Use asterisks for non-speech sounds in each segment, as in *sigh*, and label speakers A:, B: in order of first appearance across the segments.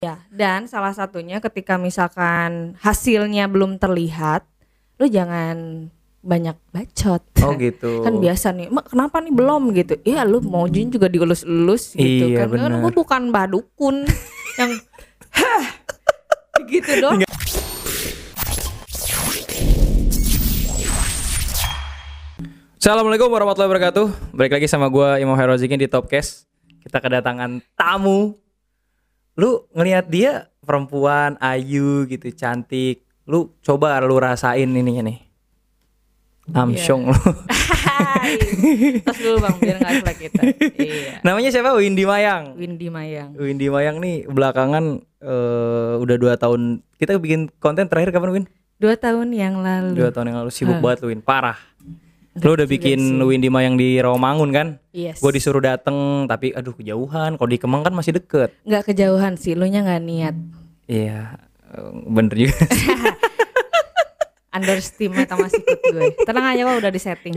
A: Ya, dan salah satunya ketika misalkan hasilnya belum terlihat, lu jangan banyak bacot.
B: Oh gitu.
A: *laughs* Kan biasa nih, "Mak, kenapa nih belum gitu? Iya, lu mauin juga dielus-elus gitu kan.
B: Iya,
A: Kan
B: benar.
A: gua bukan
B: *laughs*
A: badukun yang "Hah?" gitu dong.
B: Assalamualaikum warahmatullahi wabarakatuh. Balik lagi sama gua Imam Herozikin di Topcast. Kita kedatangan tamu. Lu ngelihat dia perempuan ayu gitu, cantik. Lu coba lu rasain ininya nih.
A: Iya.
B: Amsyong lu. *laughs*
A: Hai. Terus dulu Bang, biar nggak selek kita. Iya.
B: Namanya siapa? Windy Mayang.
A: Windy Mayang.
B: Windy Mayang nih belakangan eh, udah dua tahun kita bikin konten terakhir kapan Win?
A: Dua tahun yang lalu.
B: Dua tahun yang lalu
A: Ah.
B: sibuk banget lu Win, parah. Lu udah bikin Windy Mayang di Rawamangun kan?
A: Yes.
B: Gue disuruh dateng tapi aduh kejauhan. Kalau di Kemang kan masih deket.
A: Nggak kejauhan sih, lu nya nggak niat.
B: Iya, eh, bener juga. *laughs* sih.
A: Underestimate sama sikut gue. Tenang aja kok udah disetting.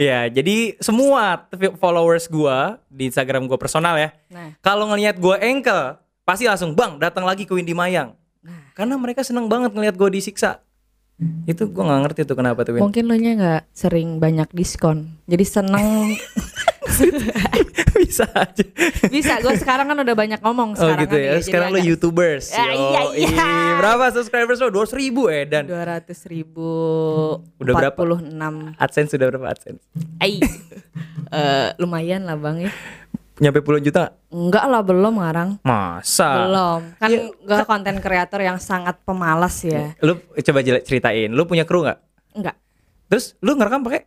B: ya, jadi semua t- followers gua di Instagram gua personal ya.
A: Nah,
B: Kalau ngelihat gua engkel, pasti langsung bang datang lagi ke Windy Mayang.
A: Nah.
B: Karena mereka seneng banget ngelihat gua disiksa. Itu gua nggak ngerti tuh kenapa tuh Win.
A: mungkin lo nya nggak sering banyak diskon. Jadi seneng
B: *laughs* Bisa aja.
A: *laughs* bisa. Gue sekarang kan udah banyak ngomong
B: Oh
A: sekarang kan
B: gitu ya. Sekarang lu youtubers.
A: Ah, iya,
B: Yoi.
A: iya.
B: Berapa subscribers lo? 200 ribu eh dan
A: dua ratus ribu
B: Hmm. Udah berapa?
A: empat puluh enam.
B: AdSense sudah berapa AdSense?
A: Ay, Eh, lumayan lah bang ya.
B: Nyampe puluhan juta?
A: Enggak lah belum ngarang.
B: Masa?
A: Belum. Kan
B: Iya.
A: gue konten kreator yang sangat pemalas ya.
B: Lu coba jela- ceritain, lu punya kru nggak?
A: Enggak.
B: Terus lu ngerekam pakai?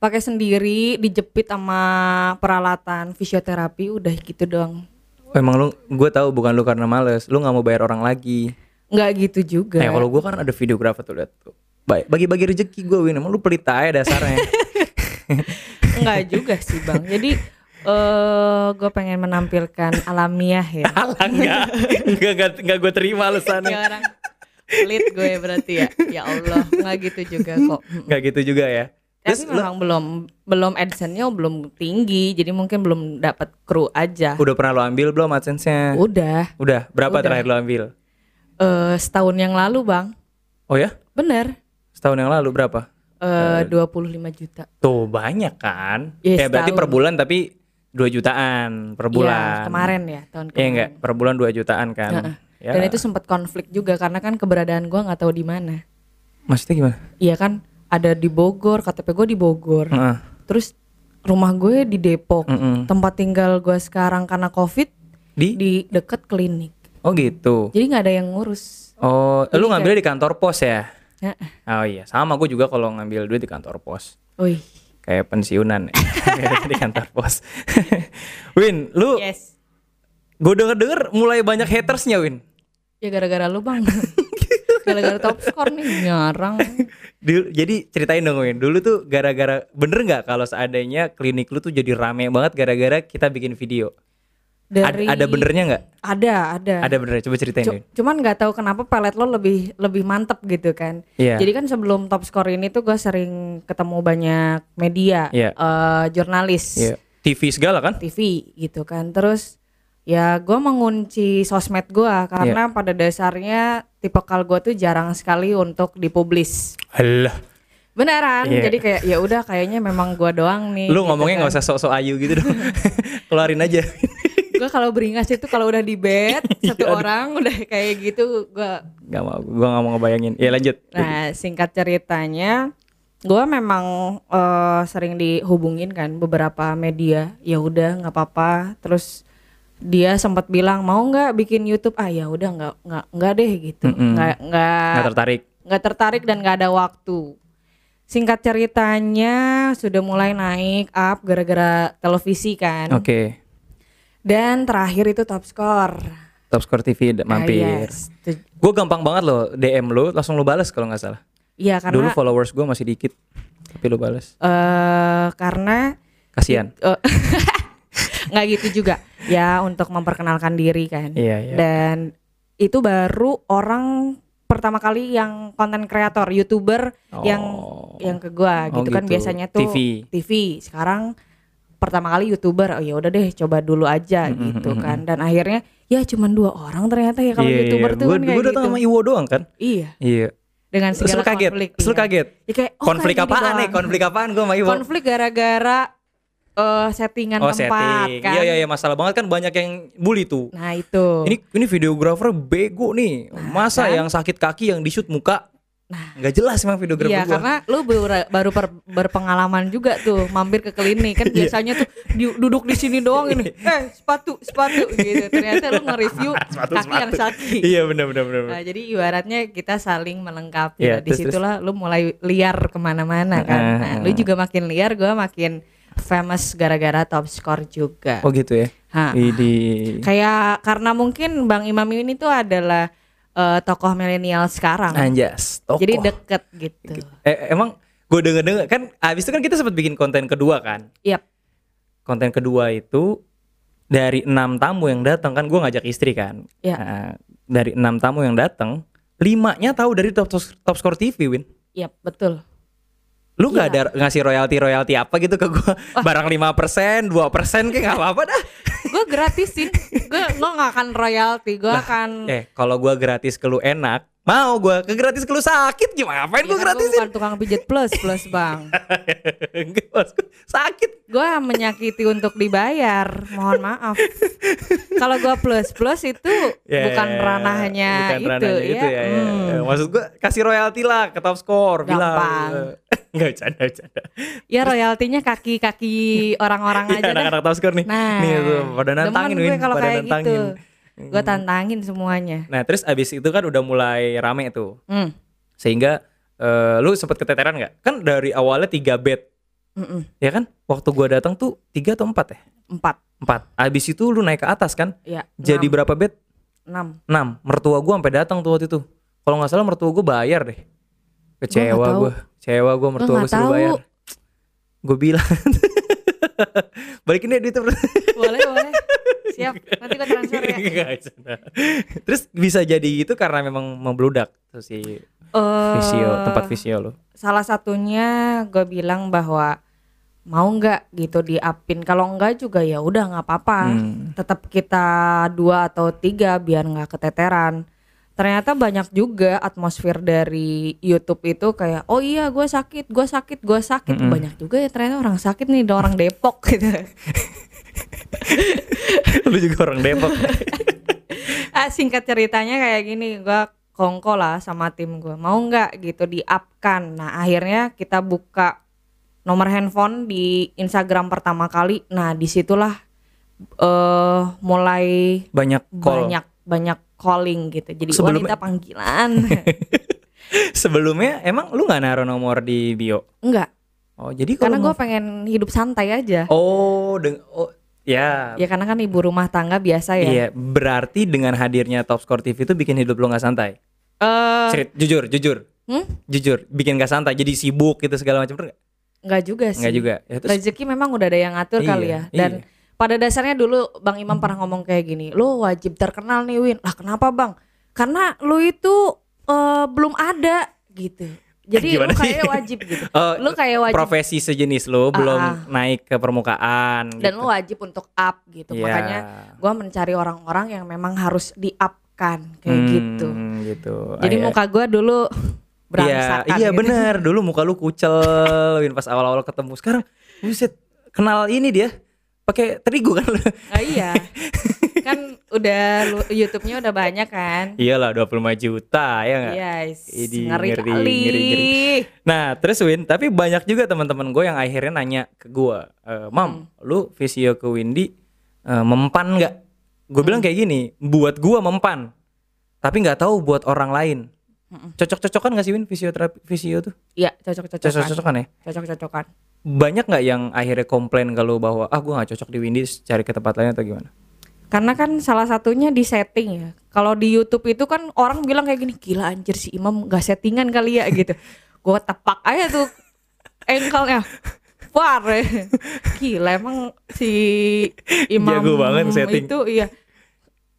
A: Pakai sendiri, dijepit sama peralatan fisioterapi, udah gitu doang.
B: Oh, emang lu gue tahu bukan lu karena males, lu nggak mau bayar orang lagi.
A: Enggak gitu juga.
B: Nah, kalau gue kan ada videografer tuh lihat tuh. Baik, bagi-bagi rezeki gue Win, emang lu pelit aja dasarnya.
A: Enggak juga sih bang. Jadi eh gue pengen menampilkan alamiah ya.
B: Alah enggak, enggak enggak, gue
A: Ya
B: terima alasannya.
A: orang pelit gue berarti ya. Ya Allah nggak gitu juga kok.
B: Enggak gitu juga ya.
A: Tapi
B: Terus lu
A: memang belum belum adsense-nya belum tinggi, jadi mungkin belum dapat kru aja.
B: udah pernah lu ambil belum AdSense-nya?
A: Udah
B: Udah, berapa
A: Udah.
B: terakhir lu ambil?
A: eh setahun yang lalu bang,
B: Oh ya?
A: bener eh,
B: Setahun yang lalu berapa?
A: dua puluh juta.
B: Tuh banyak kan?
A: Iya,
B: ya berarti
A: setahun.
B: per bulan tapi 2 jutaan per bulan.
A: Ya, kemarin ya tahun
B: Iya
A: kemarin.
B: enggak, per bulan 2 jutaan kan.
A: Heeh.
B: Ya.
A: Dan itu sempat konflik juga karena kan keberadaan gue nggak tahu di mana.
B: maksudnya gimana?
A: Iya kan ada di Bogor, KTP gue di Bogor.
B: Heeh.
A: Terus rumah gue di Depok.
B: Mm-mm.
A: Tempat tinggal gue sekarang karena COVID
B: Di?
A: di deket klinik.
B: Oh gitu.
A: Jadi nggak ada yang ngurus.
B: Oh, lu ngambilnya di kantor pos ya?
A: Ya.
B: Oh iya, sama gue juga kalau ngambil duit di kantor pos.
A: Wih.
B: Kayak pensiunan ya. *laughs* di kantor pos. *laughs* Win, lu
A: Yes.
B: gue denger-denger mulai banyak hatersnya Win.
A: Ya gara-gara lu
B: *laughs*
A: bang. gara-gara top score nih nyarang.
B: Dul- jadi ceritain dong Win, dulu tuh gara-gara bener nggak kalau seandainya klinik lu tuh jadi rame banget gara-gara kita bikin video? Ad-
A: Dari Iya.
B: ada benernya nggak?
A: Ada ada.
B: Ada gitu. benernya, coba ceritain
A: Cu-
B: Win.
A: cuman nggak tahu kenapa palet lo lebih lebih mantep gitu kan.
B: Iya.
A: Jadi kan sebelum top score ini tuh gue sering ketemu banyak media,
B: Iya.
A: eh, jurnalis,
B: Iya. TV segala kan?
A: TV gitu kan. Terus ya gue mengunci sosmed gue karena
B: Iya.
A: pada dasarnya tipe kal gue tuh jarang sekali untuk dipublis.
B: Alah.
A: Beneran.
B: Iya.
A: Jadi kayak ya udah kayaknya memang gue doang nih. gitu.
B: Lu ngomongnya
A: kan.
B: nggak usah sok-sok ayu gitu
A: *laughs*
B: dong. Keluarin aja.
A: Gue kalau beringas itu kalau udah di
B: *laughs*
A: bed
B: Iya,
A: satu orang udah kayak gitu gue
B: Gak mau, gua nggak mau ngebayangin. Ya lanjut.
A: Nah, singkat ceritanya, gue memang eh, sering dihubungin kan beberapa media. Ya udah, nggak apa-apa. Terus dia sempat bilang mau nggak bikin YouTube? Ah ya udah nggak nggak nggak deh gitu.
B: Mm-mm.
A: Nggak nggak
B: Nggak tertarik.
A: nggak tertarik dan nggak ada waktu. Singkat ceritanya sudah mulai naik up gara-gara televisi
B: Oke.
A: kan. Dan terakhir itu top score. Nah, iya,
B: Top Score TV
A: Ah,
B: d- mampir.
A: Yes. Tu-
B: Gue gampang banget loh DM lu, langsung lu balas kalau nggak salah.
A: Iya
B: Dulu
A: karena
B: followers gue masih dikit, tapi lu balas.
A: eh, karena
B: Kasihan.
A: Eh, *laughs* nggak gitu juga ya untuk memperkenalkan diri kan
B: Iya, iya.
A: dan itu baru orang pertama kali yang konten kreator youtuber yang
B: Oh.
A: yang ke gua
B: Oh,
A: gitu, kan
B: gitu.
A: biasanya tuh
B: TV.
A: TV sekarang pertama kali youtuber oh ya udah deh coba dulu aja
B: Mm, mm,
A: gitu
B: mm,
A: kan dan akhirnya ya cuman dua orang ternyata ya
B: Iya,
A: kalau youtuber tuh
B: gue
A: kan kayak
B: datang
A: gitu.
B: sama Iwo doang kan
A: iya
B: iya
A: dengan segala
B: Terus lu kaget
A: konflik
B: terus lu
A: iya.
B: kaget
A: Ya kayak, oh,
B: konflik
A: kayak gini
B: apaan
A: doang.
B: nih konflik apaan gue sama Iwo
A: konflik gara-gara eh, settingan
B: oh
A: tempat
B: setting
A: kan
B: iya iya iya masalah banget kan banyak yang bully tuh
A: nah itu
B: ini ini videografer bego nih masa
A: kan?
B: yang sakit kaki yang di shoot muka nggak jelas emang videografer
A: Iya
B: gua.
A: karena lu baru, baru per- berpengalaman juga tuh mampir ke klinik
B: Iya.
A: kan biasanya tuh di- duduk di sini doang ini eh sepatu sepatu gitu ternyata lu
B: *laughs*
A: nge-review kaki yang sakit
B: *laughs* iya benar benar benar
A: Nah, jadi ibaratnya kita saling melengkapi.
B: Iya,
A: Nah, di
B: terus,
A: situlah lu mulai liar kemana-mana kan.
B: Heeh,
A: Nah, lu juga makin liar, gua makin famous gara-gara top score juga.
B: oh gitu ya
A: Hah.
B: Widih.
A: Kayak karena mungkin Bang Imam ini tuh adalah eh, tokoh milenial
B: Kan.
A: sekarang.
B: anjas Nah, tokoh
A: Jadi deket gitu.
B: Eh, emang gue denger denger kan abis itu kan kita sempat bikin konten kedua kan
A: Yap.
B: konten kedua itu dari enam tamu yang datang kan gue ngajak istri kan
A: Iya.
B: Nah, dari enam tamu yang datang limanya tahu dari top top score TV win
A: Yap, betul.
B: lu nggak
A: Iya.
B: ada ngasih royalti royalti apa gitu ke gue barang 5% persen dua persen kayak nggak apa apa dah
A: Gue gratisin. Gue gua nggak akan royalti. Gue akan.
B: eh kalau gue gratis ke lu enak mau gue ke gratis ke lu sakit gimana ngapain
A: Ya kan,
B: gue
A: gua
B: gratisin
A: bukan tukang pijat plus plus bang.
B: *laughs* Enggak, maksud gua, sakit
A: gue menyakiti untuk dibayar mohon maaf kalau gue plus plus itu
B: Ya,
A: bukan ranahnya
B: bukan
A: itu
B: ranahnya
A: ya,
B: gitu ya, ya.
A: Hmm.
B: Ya, maksud gua kasih royalti lah ke top score bilang
A: Gampang.
B: *laughs* nggak bercanda bercanda
A: ya royaltinya kaki kaki orang-orang
B: Iya,
A: aja dah
B: anak-anak top score nih
A: kan. nah
B: nih tuh pada
A: demen
B: nantangin
A: gue
B: Win
A: kalau
B: pada
A: kayak
B: nantangin
A: gitu gue tantangin semuanya
B: nah terus abis itu kan udah mulai rame tuh
A: Hmm,
B: sehingga eh, lu sempet keteteran nggak kan dari awalnya tiga bed
A: mm-mm,
B: ya kan waktu gua datang tuh tiga atau empat ya
A: hmm. empat
B: empat abis itu lu naik ke atas kan
A: ya
B: jadi berapa bed
A: enam
B: 6 mertua gua sampai datang tuh waktu itu kalau nggak salah mertua gua bayar deh
A: Gua
B: kecewa
A: nggak
B: gua kecewa gua mertua gua
A: nggak
B: suruh
A: tahu.
B: bayar gue bilang *laughs* balikin deh duitnya
A: boleh boleh siap nanti gue transfer
B: *laughs*
A: ya
B: Nggak, canda. terus bisa jadi itu karena memang membludak tuh si
A: Eh,
B: visio tempat visio lo
A: salah satunya gue bilang bahwa mau nggak gitu diapin kalau enggak juga ya udah nggak apa-apa
B: Hmm.
A: tetap kita dua atau tiga biar nggak keteteran ternyata banyak juga atmosfer dari YouTube itu kayak oh iya gue sakit gue sakit gue sakit banyak juga ya ternyata orang sakit nih ada orang Depok *laughs* gitu
B: *laughs* lu juga orang Depok
A: *laughs* ah, singkat ceritanya kayak gini gua kongko lah sama tim gua mau nggak gitu di upkan nah akhirnya kita buka nomor handphone di Instagram pertama kali nah disitulah eh mulai
B: banyak call
A: banyak banyak calling gitu jadi
B: Sebelum-
A: wanita panggilan *laughs*
B: sebelumnya emang lu nggak naruh nomor di bio
A: enggak
B: oh jadi
A: karena
B: kalau
A: gua
B: mau-
A: pengen hidup santai aja
B: oh deng oh ya
A: ya karena kan ibu rumah tangga biasa ya
B: Iya, berarti dengan hadirnya Top Score TV itu bikin hidup lu nggak santai.
A: Eh,
B: Cerit, jujur, jujur,
A: hmm?
B: jujur, bikin nggak santai, jadi sibuk gitu segala macam, bener nggak?
A: nggak juga Iya sih
B: Nggak juga. Ya, terus,
A: rezeki memang udah ada yang ngatur
B: Iya,
A: kali ya dan
B: iya. Hmm.
A: pada dasarnya dulu Bang Imam pernah ngomong kayak gini lo wajib terkenal nih Win lah kenapa Bang karena lu itu eh, belum ada gitu jadi
B: Gimana
A: lu
B: sih?
A: kayak wajib gitu
B: eh,
A: lu kayak wajib
B: profesi sejenis lu belum
A: Ah, ah.
B: naik ke permukaan.
A: dan
B: gitu.
A: lu wajib untuk up gitu
B: Iya.
A: makanya gua mencari orang-orang yang memang harus di upkan kayak
B: Hmm,
A: gitu
B: gitu.
A: jadi
B: Ay-
A: muka gua dulu
B: Iya,
A: berangsakan
B: iya
A: gitu.
B: bener. Dulu muka lu kucel, Win pas awal-awal ketemu. Sekarang, buset, kenal ini dia. Pakai terigu kan lu.
A: Ah, iya kan udah lu- YouTube-nya udah banyak
B: *laughs*
A: kan
B: *laughs* Iyalah 25 juta ya nggak?
A: Yes,
B: Idi,
A: ngeri,
B: ngeri,
A: kali.
B: ngeri, ngeri. Nah, terus Win, tapi banyak juga teman-teman gue yang akhirnya nanya ke gue, "Eh, Mam, lu visio ke Windy eh, mempan nggak? Gue bilang kayak gini, buat gue mempan, tapi nggak tahu buat orang lain. Cocok-cocokan nggak sih Win fisioterapi visio tuh?
A: Iya, cocok-cocokan.
B: Cocok-cocokan ya.
A: Cocok-cocokan.
B: Banyak nggak yang akhirnya komplain kalau bahwa ah gue nggak cocok di Windy, cari ke tempat lain atau gimana?
A: Karena kan salah satunya di setting ya. Kalau di YouTube itu kan orang bilang kayak gini, gila anjir si Imam gak settingan kali ya
B: *laughs*
A: gitu. Gua tepak aja tuh engkelnya. War. eh. Gila emang si Imam
B: Jago banget setting.
A: Itu iya.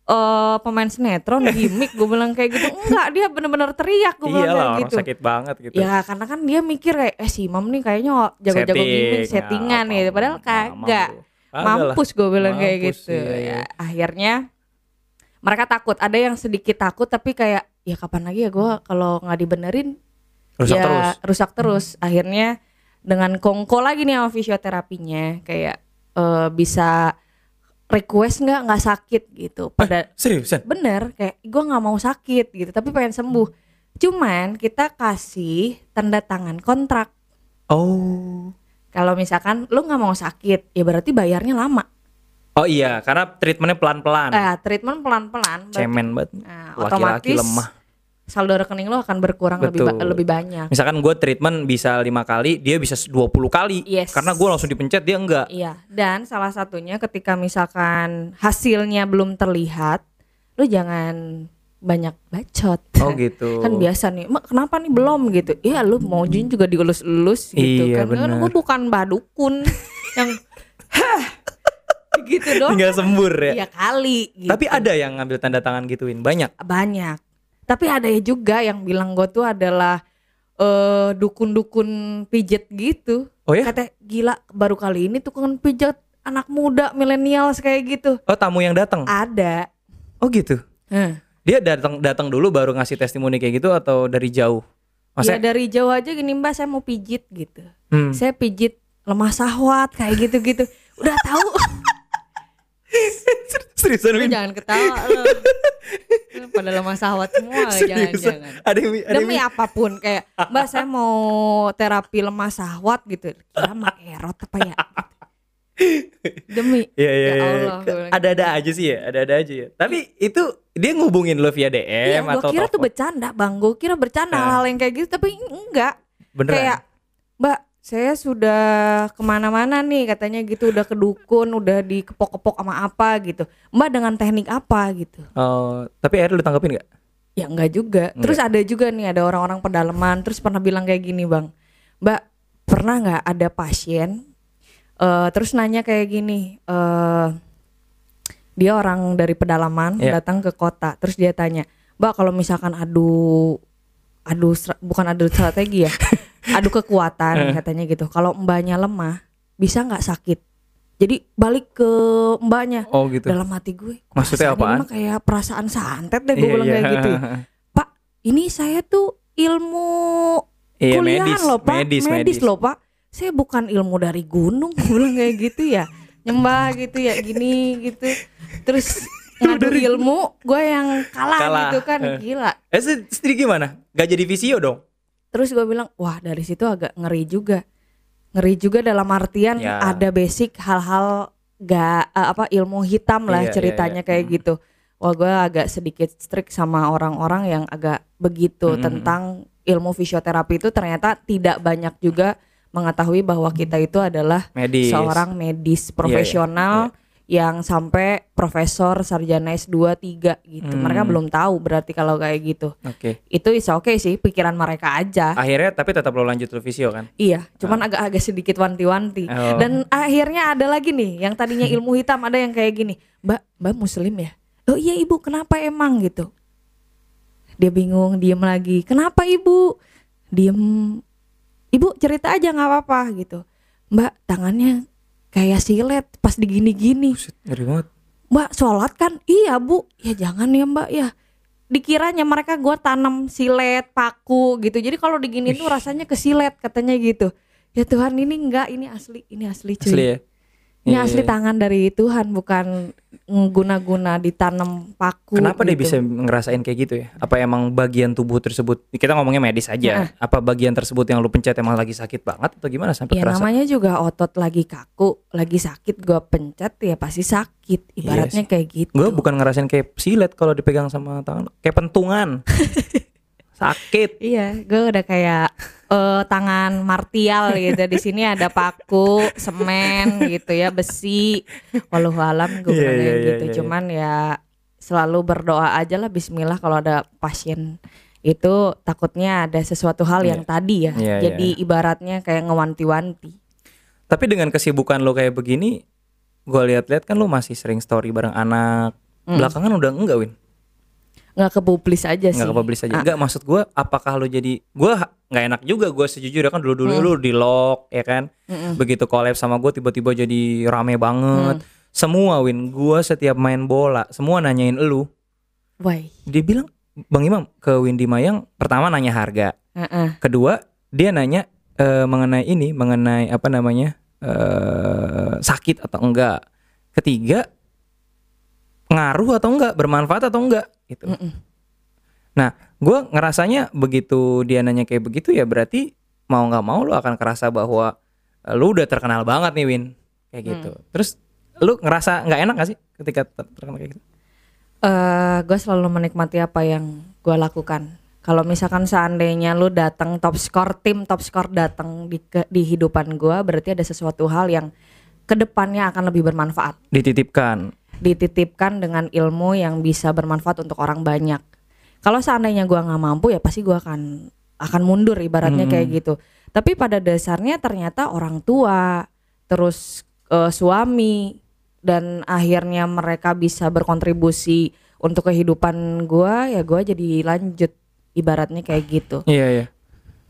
A: eh pemain sinetron gimmick gue bilang kayak gitu enggak dia bener-bener teriak gue bilang
B: Iya
A: kayak
B: lah orang
A: gitu
B: sakit banget gitu.
A: ya karena kan dia mikir kayak eh si Imam nih kayaknya jago-jago gimmick
B: Setting, Ah,
A: settingan
B: apa-apa. Ah,
A: ya padahal
B: Mamam
A: kagak
B: lu. Kagak lah.
A: mampus gue bilang kayak
B: Mampus,
A: gitu
B: iya, iya.
A: Ya, akhirnya mereka takut ada yang sedikit takut tapi kayak ya kapan lagi ya gue kalau nggak dibenerin
B: Rusak
A: ya
B: terus. Hmm.
A: rusak terus akhirnya dengan kongko lagi nih sama fisioterapinya kayak eh, bisa request nggak nggak sakit gitu pada
B: Seriusan?
A: bener kayak gue nggak mau sakit gitu tapi pengen sembuh cuman kita kasih tanda tangan kontrak
B: Oh.
A: kalau misalkan lu nggak mau sakit ya berarti bayarnya lama
B: Oh iya, karena treatmentnya pelan-pelan.
A: Eh, treatment pelan-pelan berarti-
B: Cemen banget.
A: Nah,
B: Laki-laki
A: otomatis
B: lemah.
A: saldo rekening lo akan berkurang lebih ba-
B: Betul.
A: lebih banyak.
B: Misalkan gue treatment bisa lima kali, dia bisa 20 kali.
A: Yes.
B: Karena gue langsung dipencet, dia enggak.
A: Iya, dan salah satunya ketika misalkan hasilnya belum terlihat, lo jangan banyak bacot.
B: Oh gitu.
A: kan biasa nih, "Mak, kenapa nih belum gitu? Iya, lu mau jin juga dielus-elus gitu
B: Hmm. Iya,
A: kan. Kan
B: bener.
A: gue bukan badukun *laughs* yang "Hah, gitu doang.
B: Tinggal sembur ya.
A: Iya kali gitu.
B: Tapi ada yang ngambil tanda tangan gituin, banyak.
A: banyak. Tapi ada ya juga yang bilang gue tuh adalah eh dukun-dukun pijet gitu.
B: Oh ya?
A: Kata gila baru kali ini tukang pijet anak muda milenial kayak gitu.
B: Oh tamu yang datang.
A: Ada.
B: Oh gitu.
A: Heeh.
B: Dia datang datang dulu baru ngasih testimoni kayak gitu atau dari jauh?
A: Ya
B: Masa
A: dari jauh aja gini mbak saya mau pijit gitu.
B: Hmm.
A: Saya pijit lemah sahwat kayak gitu-gitu. Udah tahu.
B: *laughs*
A: *laughs*
B: seriusan?
A: Lu
B: Win?
A: jangan ketawa lu. Lu pada lemah sahwat *laughs* semua
B: Seriusan?
A: jangan-jangan.
B: Ada yang ada
A: demi
B: yang-
A: apapun kayak mbak saya mau terapi lemah sahwat gitu kira mah erot apa ya gitu. demi
B: Iya iya
A: Ya
B: iya.
A: Allah, gue bilang
B: Ada-ada aja sih ya, ada-ada aja ya. Tapi itu dia ngubungin lo via DM
A: Iya, gua
B: atau
A: kira tuh
B: telepon?
A: bercanda bang gue kira bercanda
B: Nah.
A: hal yang kayak gitu tapi enggak
B: Beneran?
A: kayak mbak saya sudah kemana-mana nih katanya gitu udah ke dukun udah dikepok-kepok sama apa gitu mbak dengan teknik apa gitu
B: Oh, tapi akhirnya lu tanggepin gak?
A: Ya enggak juga. Terus ada juga nih ada orang-orang pedalaman terus pernah bilang kayak gini, Bang. Mbak, pernah nggak ada pasien eh terus nanya kayak gini, eh dia orang dari pedalaman
B: Iya.
A: datang ke kota, terus dia tanya, "Mbak, kalau misalkan adu adu stra- bukan adu
B: *laughs*
A: strategi ya, adu
B: Eh.
A: kekuatan katanya gitu. Kalau mbaknya lemah, bisa nggak sakit?" Jadi balik ke mbaknya.
B: Oh gitu.
A: Dalam hati gue, perasaan ini
B: Maksudnya apaan?
A: mah kayak perasaan santet deh gue
B: Iya,
A: bilang
B: iya.
A: kayak gitu. ya. Pak, ini saya tuh ilmu
B: Iya,
A: kuliahan
B: medis,
A: loh pak,
B: medis, medis.
A: loh pak. Saya bukan ilmu dari gunung, *laughs* gue bilang kayak gitu ya, nyembah gitu ya, gini gitu. Terus ngadu ilmu, gue yang kalah,
B: Kalah.
A: gitu kan,
B: Eh.
A: gila.
B: *laughs* Eh, se- sendiri gimana? Gak jadi visio dong?
A: Terus gue bilang, wah dari situ agak ngeri juga, ngeri juga dalam artian
B: Ya.
A: ada basic hal-hal gak eh, apa ilmu hitam lah
B: Iya, iya,
A: ceritanya
B: iya.
A: kayak
B: Hmm.
A: gitu. Wah gue agak sedikit strict sama orang-orang yang agak begitu
B: Hmm.
A: tentang ilmu fisioterapi itu ternyata tidak banyak juga mengetahui bahwa kita itu adalah
B: Hmm. Medis. Iya,
A: seorang medis profesional yang sampai profesor sarjana S2 3 gitu.
B: Hmm.
A: Mereka belum tahu berarti kalau kayak gitu.
B: Oke.
A: Itu is oke sih pikiran mereka aja.
B: Akhirnya tapi tetap lo lanjut lo visio kan?
A: Iya, cuman agak-agak sedikit wanti-wanti.
B: Oh.
A: Dan akhirnya ada lagi nih, yang tadinya ilmu hitam ada yang kayak gini, Mbak, Mbak Muslim ya? Oh iya ibu, kenapa emang gitu? Dia bingung, diem lagi. Kenapa ibu? Diem. Ibu cerita aja nggak apa-apa gitu. Mbak, tangannya kayak silet pas digini-gini.
B: Buset, ngeri banget.
A: Mbak, sholat kan? Iya bu. Ya jangan ya Mbak ya. Dikiranya mereka gua tanam silet, paku gitu. Jadi kalau digini tuh rasanya kesilet katanya gitu. Ya Tuhan ini enggak, ini asli, ini asli cuy.
B: Asli ya?
A: Ini
B: Iya,
A: asli
B: iya.
A: tangan dari Tuhan bukan guna-guna ditanam paku.
B: Kenapa dia
A: gitu.
B: bisa ngerasain kayak gitu ya? Apa emang bagian tubuh tersebut? Kita ngomongnya medis
A: Nah.
B: aja. ya. Apa bagian tersebut yang lu pencet emang lagi sakit banget atau gimana sampai
A: Ya
B: terasa?
A: namanya juga otot lagi kaku, lagi sakit gua pencet ya pasti sakit. Ibaratnya
B: Iya sih.
A: kayak gitu.
B: Gue bukan ngerasain kayak silet kalau dipegang sama tangan, kayak
A: *laughs*
B: pentungan. sakit.
A: Iya, gue udah kayak eh, tangan martial gitu. Di sini ada paku, semen gitu ya, besi. Walau alam gue
B: Iya,
A: bilangnya
B: iya, iya,
A: gitu.
B: iya, iya.
A: Cuman ya selalu berdoa aja lah Bismillah kalau ada pasien itu takutnya ada sesuatu hal yang tadi ya.
B: Iya,
A: Jadi ibaratnya kayak ngewanti-wanti.
B: Tapi dengan kesibukan lo kayak begini, gue lihat-lihat kan lo masih sering story bareng anak,
A: Hmm.
B: Belakangan udah enggak Win.
A: nggak ke publis aja Iya sih Ah.
B: Enggak ke publish aja. Enggak maksud gua apakah lu jadi gua ha- nggak enak juga gua sejujurnya kan dulu-dulu
A: Hmm.
B: lu di lock ya kan. Begitu collab sama gua tiba-tiba jadi rame banget.
A: Mm.
B: Semua Win, gua setiap main bola semua nanyain elu.
A: why
B: Dia bilang Bang Imam ke Windy Mayang pertama nanya harga.
A: Heeh.
B: Kedua, dia nanya eh, mengenai ini, mengenai apa namanya eh sakit atau enggak. Ketiga, ngaruh atau enggak, bermanfaat atau enggak, gitu.
A: Hmm.
B: Nah, gue ngerasanya begitu dia nanya kayak begitu ya berarti mau nggak mau lu akan kerasa bahwa eh, lu udah terkenal banget nih Win, kayak gitu. Terus lu ngerasa nggak enak gak sih ketika ter- terkenal kayak gitu?
A: eh gue selalu menikmati apa yang gue lakukan. Kalau misalkan seandainya lu datang top score tim top score datang di ke- di kehidupan gue, berarti ada sesuatu hal yang kedepannya akan lebih bermanfaat.
B: Dititipkan.
A: Dititipkan dengan ilmu yang bisa bermanfaat untuk orang banyak. Kalau seandainya gue nggak mampu ya pasti gue akan akan mundur ibaratnya kayak gitu. Tapi pada dasarnya ternyata orang tua, terus eh, suami dan akhirnya mereka bisa berkontribusi untuk kehidupan gua ya gua jadi lanjut ibaratnya kayak gitu.
B: Iya iya.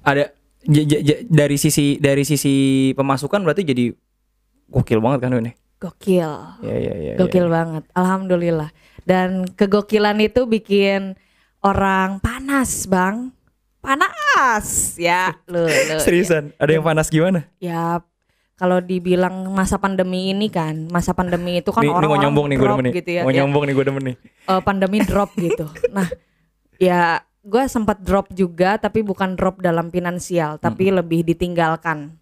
B: Ada j- j- j- dari sisi dari sisi pemasukan berarti jadi gokil banget kan ini.
A: Gokil.
B: Iya iya iya.
A: Gokil banget. Alhamdulillah. Dan kegokilan itu bikin orang panas, Bang. Panas. Ya, lu lu.
B: Seriusan, ada yang panas gimana?
A: Ya kalau dibilang masa pandemi ini kan, masa pandemi itu kan
B: Nih- nih mau
A: orang-orang
B: nyombong nih gue
A: drop
B: demen nih.
A: gitu ya.
B: mau
A: ya.
B: nyombong nih gue demen nih.
A: eh, pandemi drop gitu. Nah, ya gue sempat drop juga, tapi bukan drop dalam finansial, tapi lebih ditinggalkan,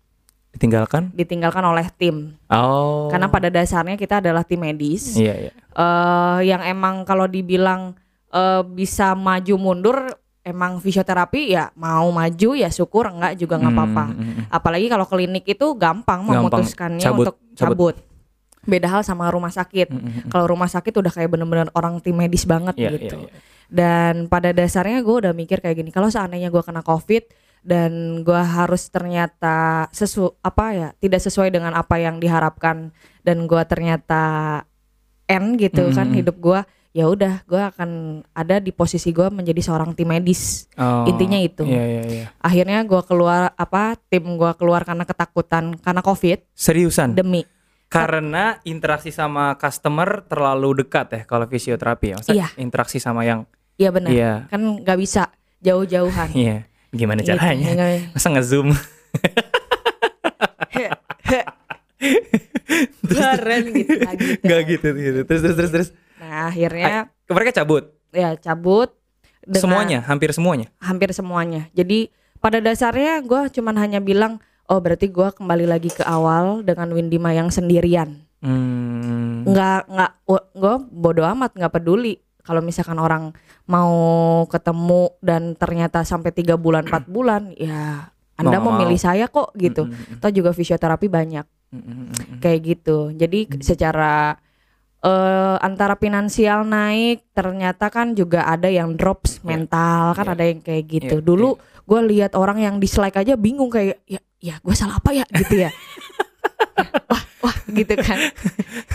B: Ditinggalkan?
A: ditinggalkan oleh tim.
B: Oh.
A: Karena pada dasarnya kita adalah tim medis,
B: Iya iya.
A: eh, yang emang kalau dibilang eh, bisa maju mundur, emang fisioterapi ya mau maju ya syukur, enggak juga nggak apa-apa.
B: Hmm, hmm, hmm.
A: Apalagi kalau klinik itu gampang,
B: Gampang.
A: memutuskannya
B: Cabut,
A: untuk
B: cabut.
A: cabut. Beda hal sama rumah sakit.
B: Hmm, hmm, hmm.
A: Kalau rumah sakit udah kayak bener-bener orang tim medis banget
B: Iya iya
A: gitu.
B: iya.
A: Dan pada dasarnya gue udah mikir kayak gini, kalau seandainya gue kena COVID dan gue harus ternyata sesu apa ya tidak sesuai dengan apa yang diharapkan dan gue ternyata end gitu kan
B: Mm-mm.
A: hidup gue, ya udah gue akan ada di posisi gue menjadi seorang tim medis.
B: Oh,
A: Intinya itu.
B: Iya iya iya.
A: Akhirnya gue keluar apa tim gue keluar karena ketakutan karena COVID
B: Seriusan.
A: demi
B: karena interaksi sama customer terlalu dekat ya kalau fisioterapi ya. Maksudnya
A: Iya.
B: interaksi sama yang
A: iya benar
B: Iya.
A: kan nggak bisa jauh-jauhan.
B: *laughs* Iya. Gimana
A: Gitu,
B: caranya?
A: nggak-
B: Masa nge-zoom? ya.
A: Keren gitu lagi.
B: Gak gitu gitu. Terus terus terus terus.
A: Nah akhirnya
B: Ay, mereka cabut
A: ya cabut dengan
B: semuanya, hampir semuanya.
A: hampir semuanya. Jadi pada dasarnya gue cuman hanya bilang oh berarti gue kembali lagi ke awal dengan Windy Mayang sendirian.
B: Hmm.
A: Nggak nggak gue bodoh amat nggak peduli kalau misalkan orang mau ketemu dan ternyata sampai tiga bulan 4 bulan ya anda
B: Mau nggak
A: memilih
B: mau.
A: saya kok gitu.
B: Mm,
A: Atau juga fisioterapi banyak kayak gitu. Jadi k- secara eh antara finansial naik, ternyata kan juga ada yang drops mental, kan
B: iya.
A: ada yang kayak gitu.
B: Iya,
A: Dulu gue lihat orang yang dislike aja bingung kayak ya, ya gue salah apa ya gitu ya.
B: *laughs*
A: wah, wah gitu kan.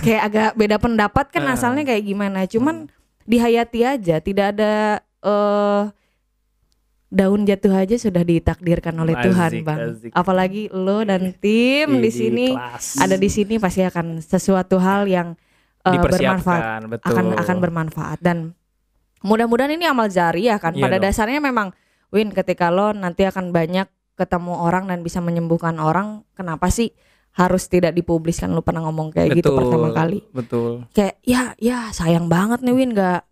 A: kayak agak beda pendapat kan
B: Ah.
A: asalnya kayak gimana. Cuman dihayati aja, tidak ada eh daun jatuh aja sudah ditakdirkan oleh Tuhan,
B: Azik,
A: Bang.
B: azik. Iya. gitu.
A: Apalagi lo dan tim di sini ada di sini pasti akan sesuatu hal yang eh, bermanfaat
B: dipersiapkan, betul.
A: akan akan bermanfaat dan mudah-mudahan ini amal jariah kan
B: Iya
A: pada
B: dong.
A: dasarnya memang win ketika lo nanti akan banyak ketemu orang dan bisa menyembuhkan orang kenapa sih harus tidak dipubliskan lo pernah ngomong kayak gitu
B: Betul,
A: pertama kali
B: Betul.
A: kayak ya ya sayang banget nih Win nggak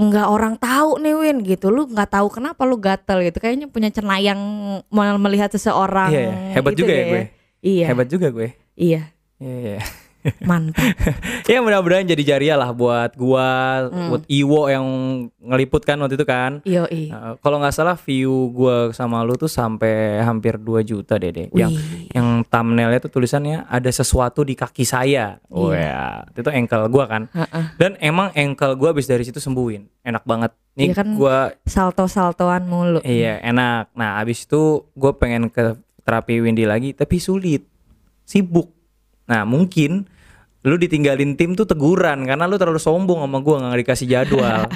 A: nggak orang tahu nih Win gitu lu nggak tahu kenapa lu gatel gitu kayaknya punya cenayang mau melihat seseorang
B: Iya, iya. hebat
A: gitu
B: juga ya
A: deh
B: gue.
A: iya
B: Hebat juga gue.
A: iya
B: Iya, iya. *laughs*
A: *laughs* mantap
B: Ya mudah-mudahan jadi jariah lah buat gua,
A: Hmm.
B: buat Iwo yang ngeliput kan waktu itu kan.
A: yo
B: Nah, kalau nggak salah view gua sama lu tuh sampai hampir 2 juta deh deh. Yang
A: Wih.
B: yang thumbnailnya tuh tulisannya ada sesuatu di kaki saya.
A: Oh,
B: Wah,
A: iya.
B: itu ankle gua kan.
A: Heeh.
B: Dan emang ankle gua abis dari situ sembuhin. Enak banget. Nih
A: Iya kan?
B: gua
A: salto-saltoan mulu
B: iya enak. Nah, abis itu gua pengen ke terapi Windy lagi tapi sulit. Sibuk. Nah, mungkin lu ditinggalin tim tuh teguran karena lu terlalu sombong sama gua nggak dikasih jadwal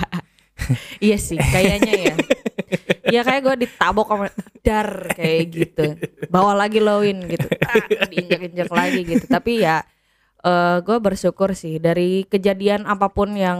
A: Iya sih, kayaknya *laughs* ya. Iya kayak gue ditabok sama dar kayak gitu. Bawa lagi lowin gitu. Ah, diinjak-injak lagi gitu. Tapi ya eh gue bersyukur sih dari kejadian apapun yang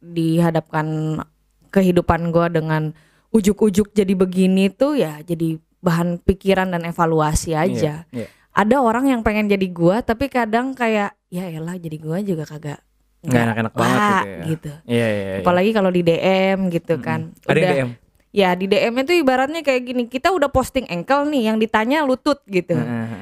A: dihadapkan kehidupan gue dengan ujuk-ujuk jadi begini tuh ya jadi bahan pikiran dan evaluasi *laughs* aja.
B: Iya, iya.
A: Ada orang yang pengen jadi gua tapi kadang kayak ya elah jadi gua juga kagak
B: nggak enak-enak banget
A: wah,
B: gitu ya
A: gitu.
B: iya iya, iya.
A: Apalagi kalau di DM gitu kan.
B: ada yang DM
A: Ya di DM itu ibaratnya kayak gini, kita udah posting ankle nih, yang ditanya lutut gitu.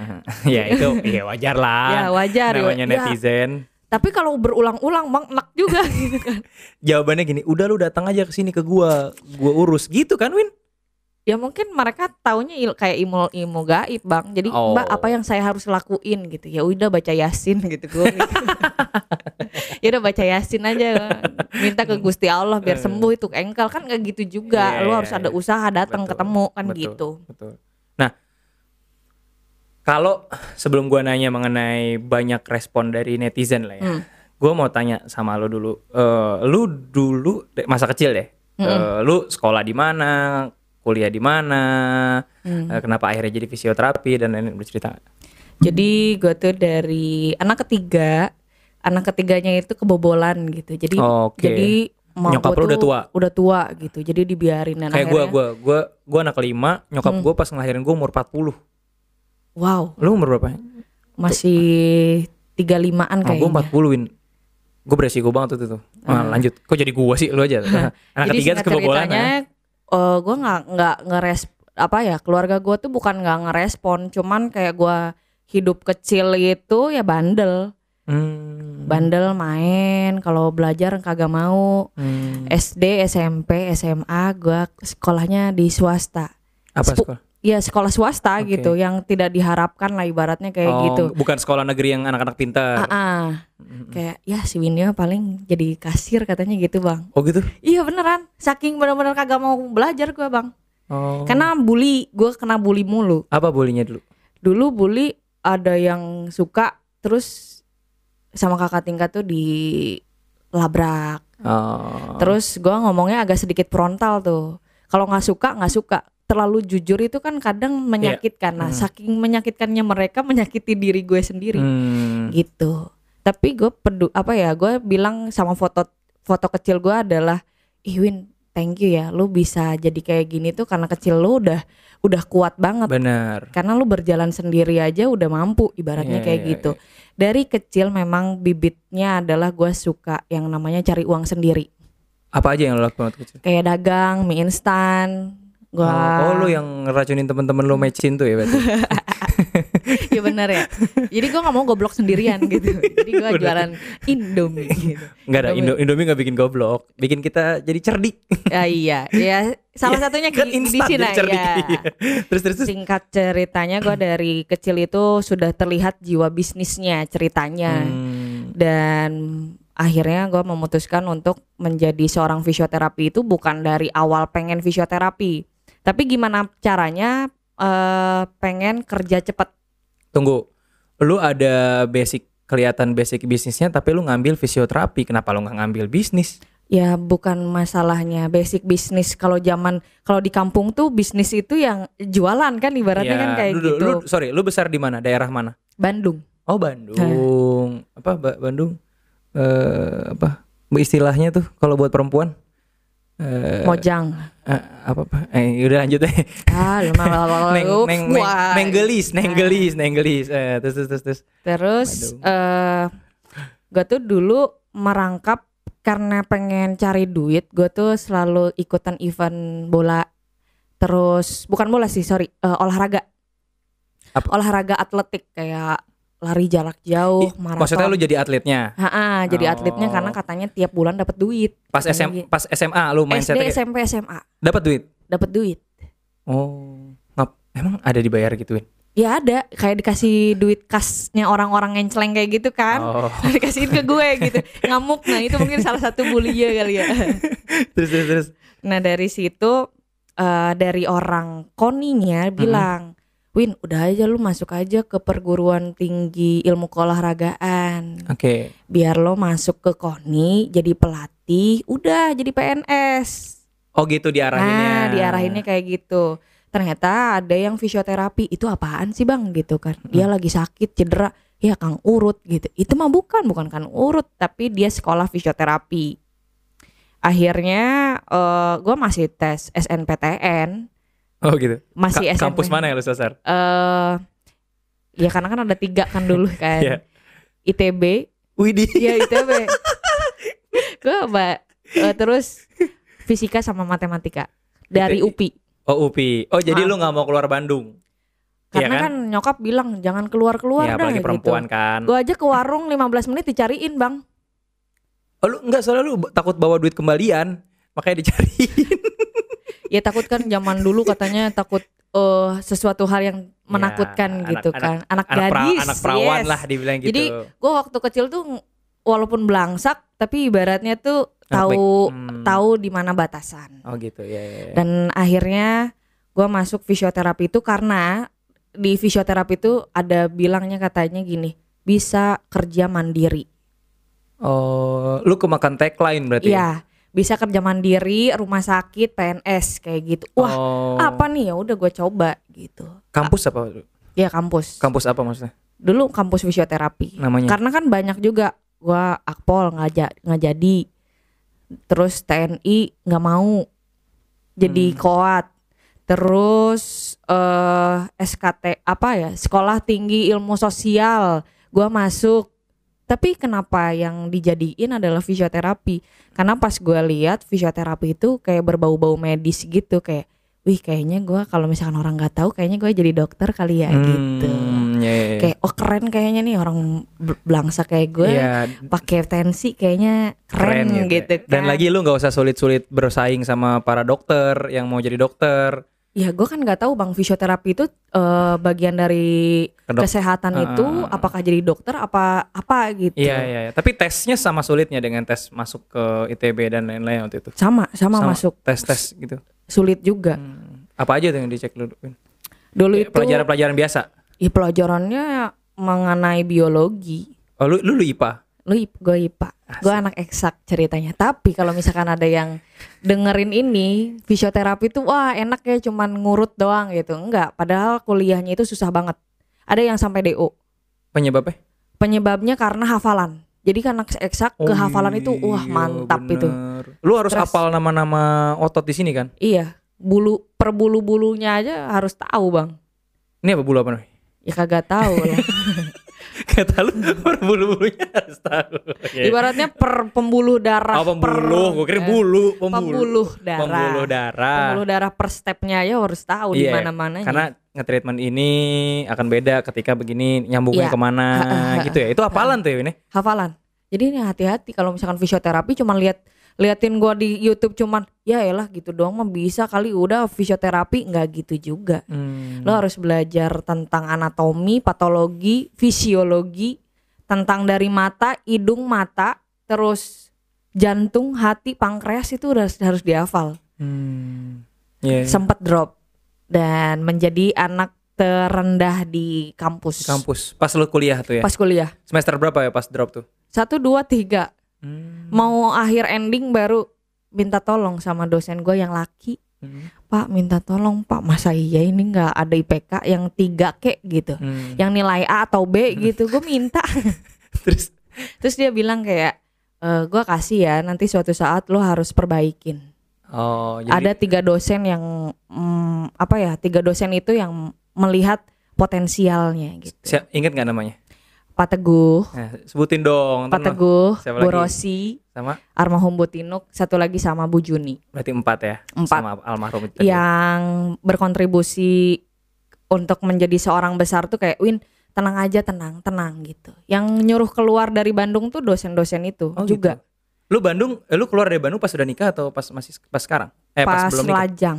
B: *laughs* ya itu ya wajar lah
A: Ya wajar ya.
B: namanya
A: Ya,
B: netizen
A: Tapi kalau berulang-ulang bang enak
B: *laughs*
A: juga gitu kan.
B: jawabannya gini udah lu datang aja ke sini ke gua gua urus gitu kan Win
A: Ya mungkin mereka taunya il- kayak imul-imul gaib bang. Jadi
B: Oh.
A: mbak apa yang saya harus lakuin gitu. Ya udah baca yasin *laughs* gitu gue. ya udah baca yasin aja. Minta ke Gusti Allah biar sembuh itu ankle kan gak gitu juga.
B: Hmm. Iya,
A: Lu
B: iya,
A: harus ada
B: iya.
A: usaha datang
B: Betul,
A: ketemu kan
B: betul.
A: gitu.
B: Betul. Nah, kalau sebelum gua nanya mengenai banyak respon dari netizen lah ya,
A: Hmm.
B: gua mau tanya sama lo dulu. Eh, lu dulu de- masa kecil deh,
A: Hmm.
B: eh, lu sekolah di mana, kuliah di mana,
A: Hmm.
B: eh, kenapa akhirnya jadi fisioterapi dan lain-lain boleh cerita? nggak?
A: Jadi gue tuh dari anak ketiga, anak ketiganya itu kebobolan gitu. Jadi
B: Oh, Oke.
A: jadi emak
B: Nyokap
A: gua
B: lu udah
A: tuh
B: tua?
A: Udah tua gitu. Jadi dibiarin dan
B: Kayak
A: akhirnya
B: gua,
A: Hmm.
B: gua, gua, gua anak kelima, nyokap gua pas ngelahirin gua umur 40
A: wow,
B: Lu umur berapa?
A: masih 35-an
B: Oh,
A: kayaknya.
B: gua 40 win. Gue beresiko banget waktu itu. Nah, lanjut. Kok jadi gua sih lu aja? *laughs* Anak
A: Ah. *laughs* jadi
B: ketiga
A: singkat
B: terus kebobolan.
A: ceritanya,
B: ah.
A: eh, gua nggak nggak ngeres apa ya keluarga gua tuh bukan nggak ngerespon, cuman kayak gua hidup kecil itu ya bandel,
B: Hmm.
A: bandel main. Kalau belajar kagak mau,
B: Hmm.
A: SD, SMP, SMA gua sekolahnya di swasta.
B: Apa
A: Sepu-
B: sekolah?
A: Ya sekolah swasta
B: Oke.
A: gitu yang tidak diharapkan lah ibaratnya kayak
B: Oh, Hmm.
A: gitu.
B: Bukan sekolah negeri yang anak-anak pintar.
A: Ah, kayak ya si Winnya paling jadi kasir katanya gitu, Bang.
B: Oh gitu.
A: Iya beneran, saking bener-bener kagak mau belajar gua, Bang.
B: Oh.
A: Karena bully, gua kena bully mulu.
B: Apa bolinya dulu?
A: Dulu bully ada yang suka terus sama kakak tingkat tuh dilabrak.
B: Oh.
A: Terus gua ngomongnya agak sedikit frontal tuh. Kalau nggak suka nggak suka. Terlalu jujur itu kan kadang
B: Iya.
A: menyakitkan. Nah, saking menyakitkannya mereka menyakiti diri gue sendiri
B: Hmm.
A: gitu. Tapi gue pedu apa ya? Gue bilang sama foto foto kecil gue adalah, ih Win, thank you ya. Lu bisa jadi kayak gini tuh karena kecil lu udah udah kuat banget
B: Benar.
A: karena lu berjalan sendiri aja udah mampu ibaratnya
B: Iya,
A: kayak
B: iya,
A: gitu. Dari kecil memang bibitnya adalah gue suka yang namanya cari uang sendiri.
B: Apa aja yang lo lakukan waktu kecil?
A: Kayak dagang, mie instan. Gua
B: Oh, oh, lu yang ngeracunin temen-temen lu mecin tuh ya berarti.
A: *laughs* Iya benar ya. Jadi gua nggak mau goblok sendirian gitu. Jadi
B: *laughs*
A: gua jualan Indomie gitu.
B: Enggak ada
A: Indomie.
B: Indo Indomie enggak bikin goblok, bikin kita jadi cerdik.
A: Ya iya, ya salah satunya
B: *laughs* kan
A: di, di
B: instan
A: Cina
B: jadi cerdik.
A: ya.
B: Iya. *laughs* terus terus. terus.
A: Singkat ceritanya gua dari kecil itu sudah terlihat jiwa bisnisnya ceritanya.
B: Hmm.
A: dan akhirnya gue memutuskan untuk menjadi seorang fisioterapi itu bukan dari awal pengen fisioterapi tapi gimana caranya eh, pengen kerja cepat
B: Tunggu. Lu ada basic kelihatan basic bisnisnya tapi lu ngambil fisioterapi. Kenapa lu nggak ngambil bisnis?
A: ya bukan masalahnya basic bisnis kalau zaman kalau di kampung tuh bisnis itu yang jualan kan ibaratnya
B: Iya,
A: kan kayak
B: lu, lu-
A: gitu
B: lu- sorry, lu besar di mana? Daerah mana?
A: Bandung
B: Oh Bandung. Apa Ba- Bandung? Eh apa istilahnya tuh kalau buat perempuan? Eh,
A: Mojang
B: eh, apa apa? Eh udah lanjut
A: *laughs*
B: deh.
A: ah
B: *laughs*
A: lu mah lalu-
B: Neng
A: lalu.
B: neng neng
A: Wah. Ah.
B: nenggelis, nenggelis, nenggelis. Eh terus terus terus. terus.
A: Terus
B: Waduh.
A: eh gue tuh dulu merangkap karena pengen cari duit, gue tuh selalu ikutan event bola. Terus bukan bola sih, sorry, eh, olahraga.
B: Apa?
A: Olahraga atletik kayak lari jarak jauh,
B: Ih,
A: maraton.
B: Maksudnya lu jadi atletnya.
A: Ha-ha, jadi
B: Oh.
A: atletnya karena katanya tiap bulan dapat duit.
B: Pas
A: Katanya
B: SM
A: gitu.
B: pas SMA lu
A: SD,
B: mindsetnya kayak,
A: SMP, SMA
B: dapat duit.
A: dapat duit.
B: Oh. Ngap, emang ada dibayar gitu gituin?
A: Ya ada, kayak dikasih duit kasnya orang-orang ngenceleng kayak gitu kan.
B: Oh.
A: dikasihin ke gue gitu ngamuk nah itu mungkin salah satu bully ya kali ya
B: *laughs* terus terus terus.
A: *laughs* nah dari situ eh, dari orang koninya bilang Win udah aja lu masuk aja ke perguruan tinggi ilmu keolahragaan training
B: Oke.
A: biar lo masuk ke koni jadi pelatih udah jadi PNS
B: Oh gitu diarahinnya.
A: Nah, diarahinnya kayak gitu. Ternyata ada yang fisioterapi itu apaan sih bang gitu
B: Hmm.
A: kan? Dia lagi sakit cedera, ya kang urut gitu. Itu mah bukan bukan kang urut, tapi dia sekolah fisioterapi. Akhirnya eh gue masih tes SNPTN,
B: Oh gitu.
A: masih
B: Ka-
A: SNPTN.
B: kampus mana ya lu sasar?
A: Eh, ya karena kan ada tiga kan dulu
B: *laughs*
A: kan.
B: Iya.
A: ITB,
B: Widih.
A: Iya
B: *laughs*
A: ITB. gue eh, terus fisika sama matematika dari
B: ITB.
A: UPI.
B: Oh UPI. Oh jadi
A: Ah.
B: lu nggak mau keluar Bandung? Iya
A: Karena kan? nyokap bilang jangan keluar-keluar
B: ya,
A: dah
B: apalagi perempuan kan.
A: gitu. Gue aja ke warung 15 menit dicariin, Bang.
B: Oh, lu enggak soalnya lu b- takut bawa duit kembalian, makanya dicariin.
A: Ya takut kan zaman dulu katanya takut eh sesuatu hal yang menakutkan
B: Iya, anak-
A: gitu
B: anak-
A: kan. Anak,
B: *laughs* anak, pra-
A: gadis.
B: anak perawan
A: yes.
B: lah dibilang gitu.
A: Jadi, Gue waktu kecil tuh ng- walaupun belangsak tapi ibaratnya tuh
B: Ah, baik.
A: tahu
B: Hmm.
A: tahu di mana batasan.
B: Oh gitu ya. ya, ya.
A: Dan akhirnya gue masuk fisioterapi itu karena di fisioterapi itu ada bilangnya katanya gini, bisa kerja mandiri.
B: Oh, lu kemakan tagline berarti. ya?
A: Iya, bisa kerja mandiri, rumah sakit, PNS kayak gitu. Wah,
B: Oh.
A: apa nih ya udah gue coba gitu.
B: Kampus apa?
A: Ya kampus.
B: Kampus apa maksudnya?
A: Dulu kampus fisioterapi.
B: Namanya.
A: Karena kan banyak juga gua akpol nggak ja- nggak jadi. Terus TNI nggak mau. Jadi
B: Hmm.
A: koat. Terus eh SKT apa ya? Sekolah Tinggi Ilmu Sosial. Gua masuk tapi kenapa yang dijadiin adalah fisioterapi? Karena pas gue lihat fisioterapi itu kayak berbau-bau medis gitu kayak, wih kayaknya gue kalau misalkan orang nggak tahu kayaknya gue jadi dokter kali ya gitu.
B: Hmm, ya, ya, ya.
A: Kayak oh keren kayaknya nih orang ber- belangsak kayak gue
B: Iya,
A: pakai tensi kayaknya keren,
B: keren
A: gitu.
B: ya.
A: kan.
B: Dan lagi lu nggak usah sulit-sulit bersaing sama para dokter yang mau jadi dokter.
A: ya gue kan nggak tahu bang fisioterapi itu eh, bagian dari
B: Kedok-
A: kesehatan
B: Ah,
A: itu
B: ah, ah.
A: apakah jadi dokter apa apa gitu.
B: Iya, iya, iya. Tapi tesnya sama sulitnya dengan tes masuk ke ITB dan lain-lain waktu itu.
A: Sama, sama
B: Sama.
A: masuk
B: Tes-tes gitu.
A: sulit juga.
B: Hmm. Apa aja tuh yang dicek lu? Win?
A: Dulu
B: Iya,
A: itu
B: Pelajaran-pelajaran biasa.
A: Ya pelajarannya mengenai biologi.
B: Oh, lu lu, lu IPA.
A: Lu gue IPA. Gue anak eksak ceritanya. Tapi kalau misalkan ada yang dengerin ini, fisioterapi tuh wah enak ya cuman ngurut doang gitu. Enggak, padahal kuliahnya itu susah banget. Ada yang sampai DO.
B: Penyebabnya?
A: Penyebabnya karena hafalan. Jadi kan anak eksak
B: Oh,
A: kehafalan itu wah
B: iya,
A: mantap itu.
B: bener. Lu harus
A: Stres.
B: hafal nama-nama otot di sini kan?
A: Iya, bulu per bulu-bulunya aja harus tahu, Bang.
B: Ini apa bulu apa namanya? *laughs*
A: Ya kagak tahu lah.
B: Kata lu berbulu-bulunya harus tahu. Oke.
A: Ibaratnya per pembuluh darah.
B: Oh,
A: per-
B: pembuluh, gua kira
A: eh,
B: bulu, pembuluh.
A: pembuluh darah.
B: Pembuluh darah.
A: pembuluh darah per stepnya aja harus tahu di
B: Iya,
A: mana-mana.
B: Karena nge-treatment ini akan beda ketika begini nyambungnya
A: Iya.
B: kemana
A: Ha-ha.
B: gitu ya. Itu apalan tuh ya ini?
A: hafalan. Jadi ini hati-hati kalau misalkan fisioterapi cuman lihat liatin gua di YouTube cuman ya elah gitu doang mah bisa kali udah fisioterapi nggak gitu juga. Lo harus belajar tentang anatomi, patologi, fisiologi, tentang dari mata, hidung, mata, terus jantung, hati, pankreas itu udah harus dihafal.
B: Hmm. Iya.
A: sempat drop dan menjadi anak terendah di kampus.
B: Kampus. Pas lu kuliah tuh ya.
A: Pas kuliah.
B: Semester berapa ya pas drop tuh?
A: Satu, dua, tiga.
B: Hmm.
A: Mau akhir ending baru minta tolong sama dosen gue yang laki. Pak minta tolong pak masa iya ini nggak ada IPK yang tiga kek gitu.
B: Hmm.
A: Yang nilai A atau B gitu. Gue minta.
B: *laughs* Terus
A: Terus dia bilang kayak "Eh, gue kasih ya nanti suatu saat lo harus perbaikin.
B: oh,
A: ada tiga dosen yang mm, apa ya tiga dosen itu yang melihat potensialnya gitu
B: Siap, ingat nggak namanya?
A: Pak Teguh
B: Nah, sebutin dong.
A: Pak
B: ntar lo.
A: Teguh
B: Siapa
A: Bu
B: lagi?
A: Rosi
B: Sama
A: Armahum Butinuk satu lagi sama Bu Juni
B: berarti empat ya.
A: empat Iya,
B: Sama almarhum itu. tadi.
A: yang berkontribusi untuk menjadi seorang besar tuh kayak Win tenang aja tenang tenang gitu yang nyuruh keluar dari Bandung tuh dosen-dosen itu
B: Oh,
A: juga
B: gitu. Lu Bandung, eh, lu keluar dari Bandung pas udah nikah atau pas masih pas sekarang? Eh
A: pas
B: pas, belum nikah.
A: lajang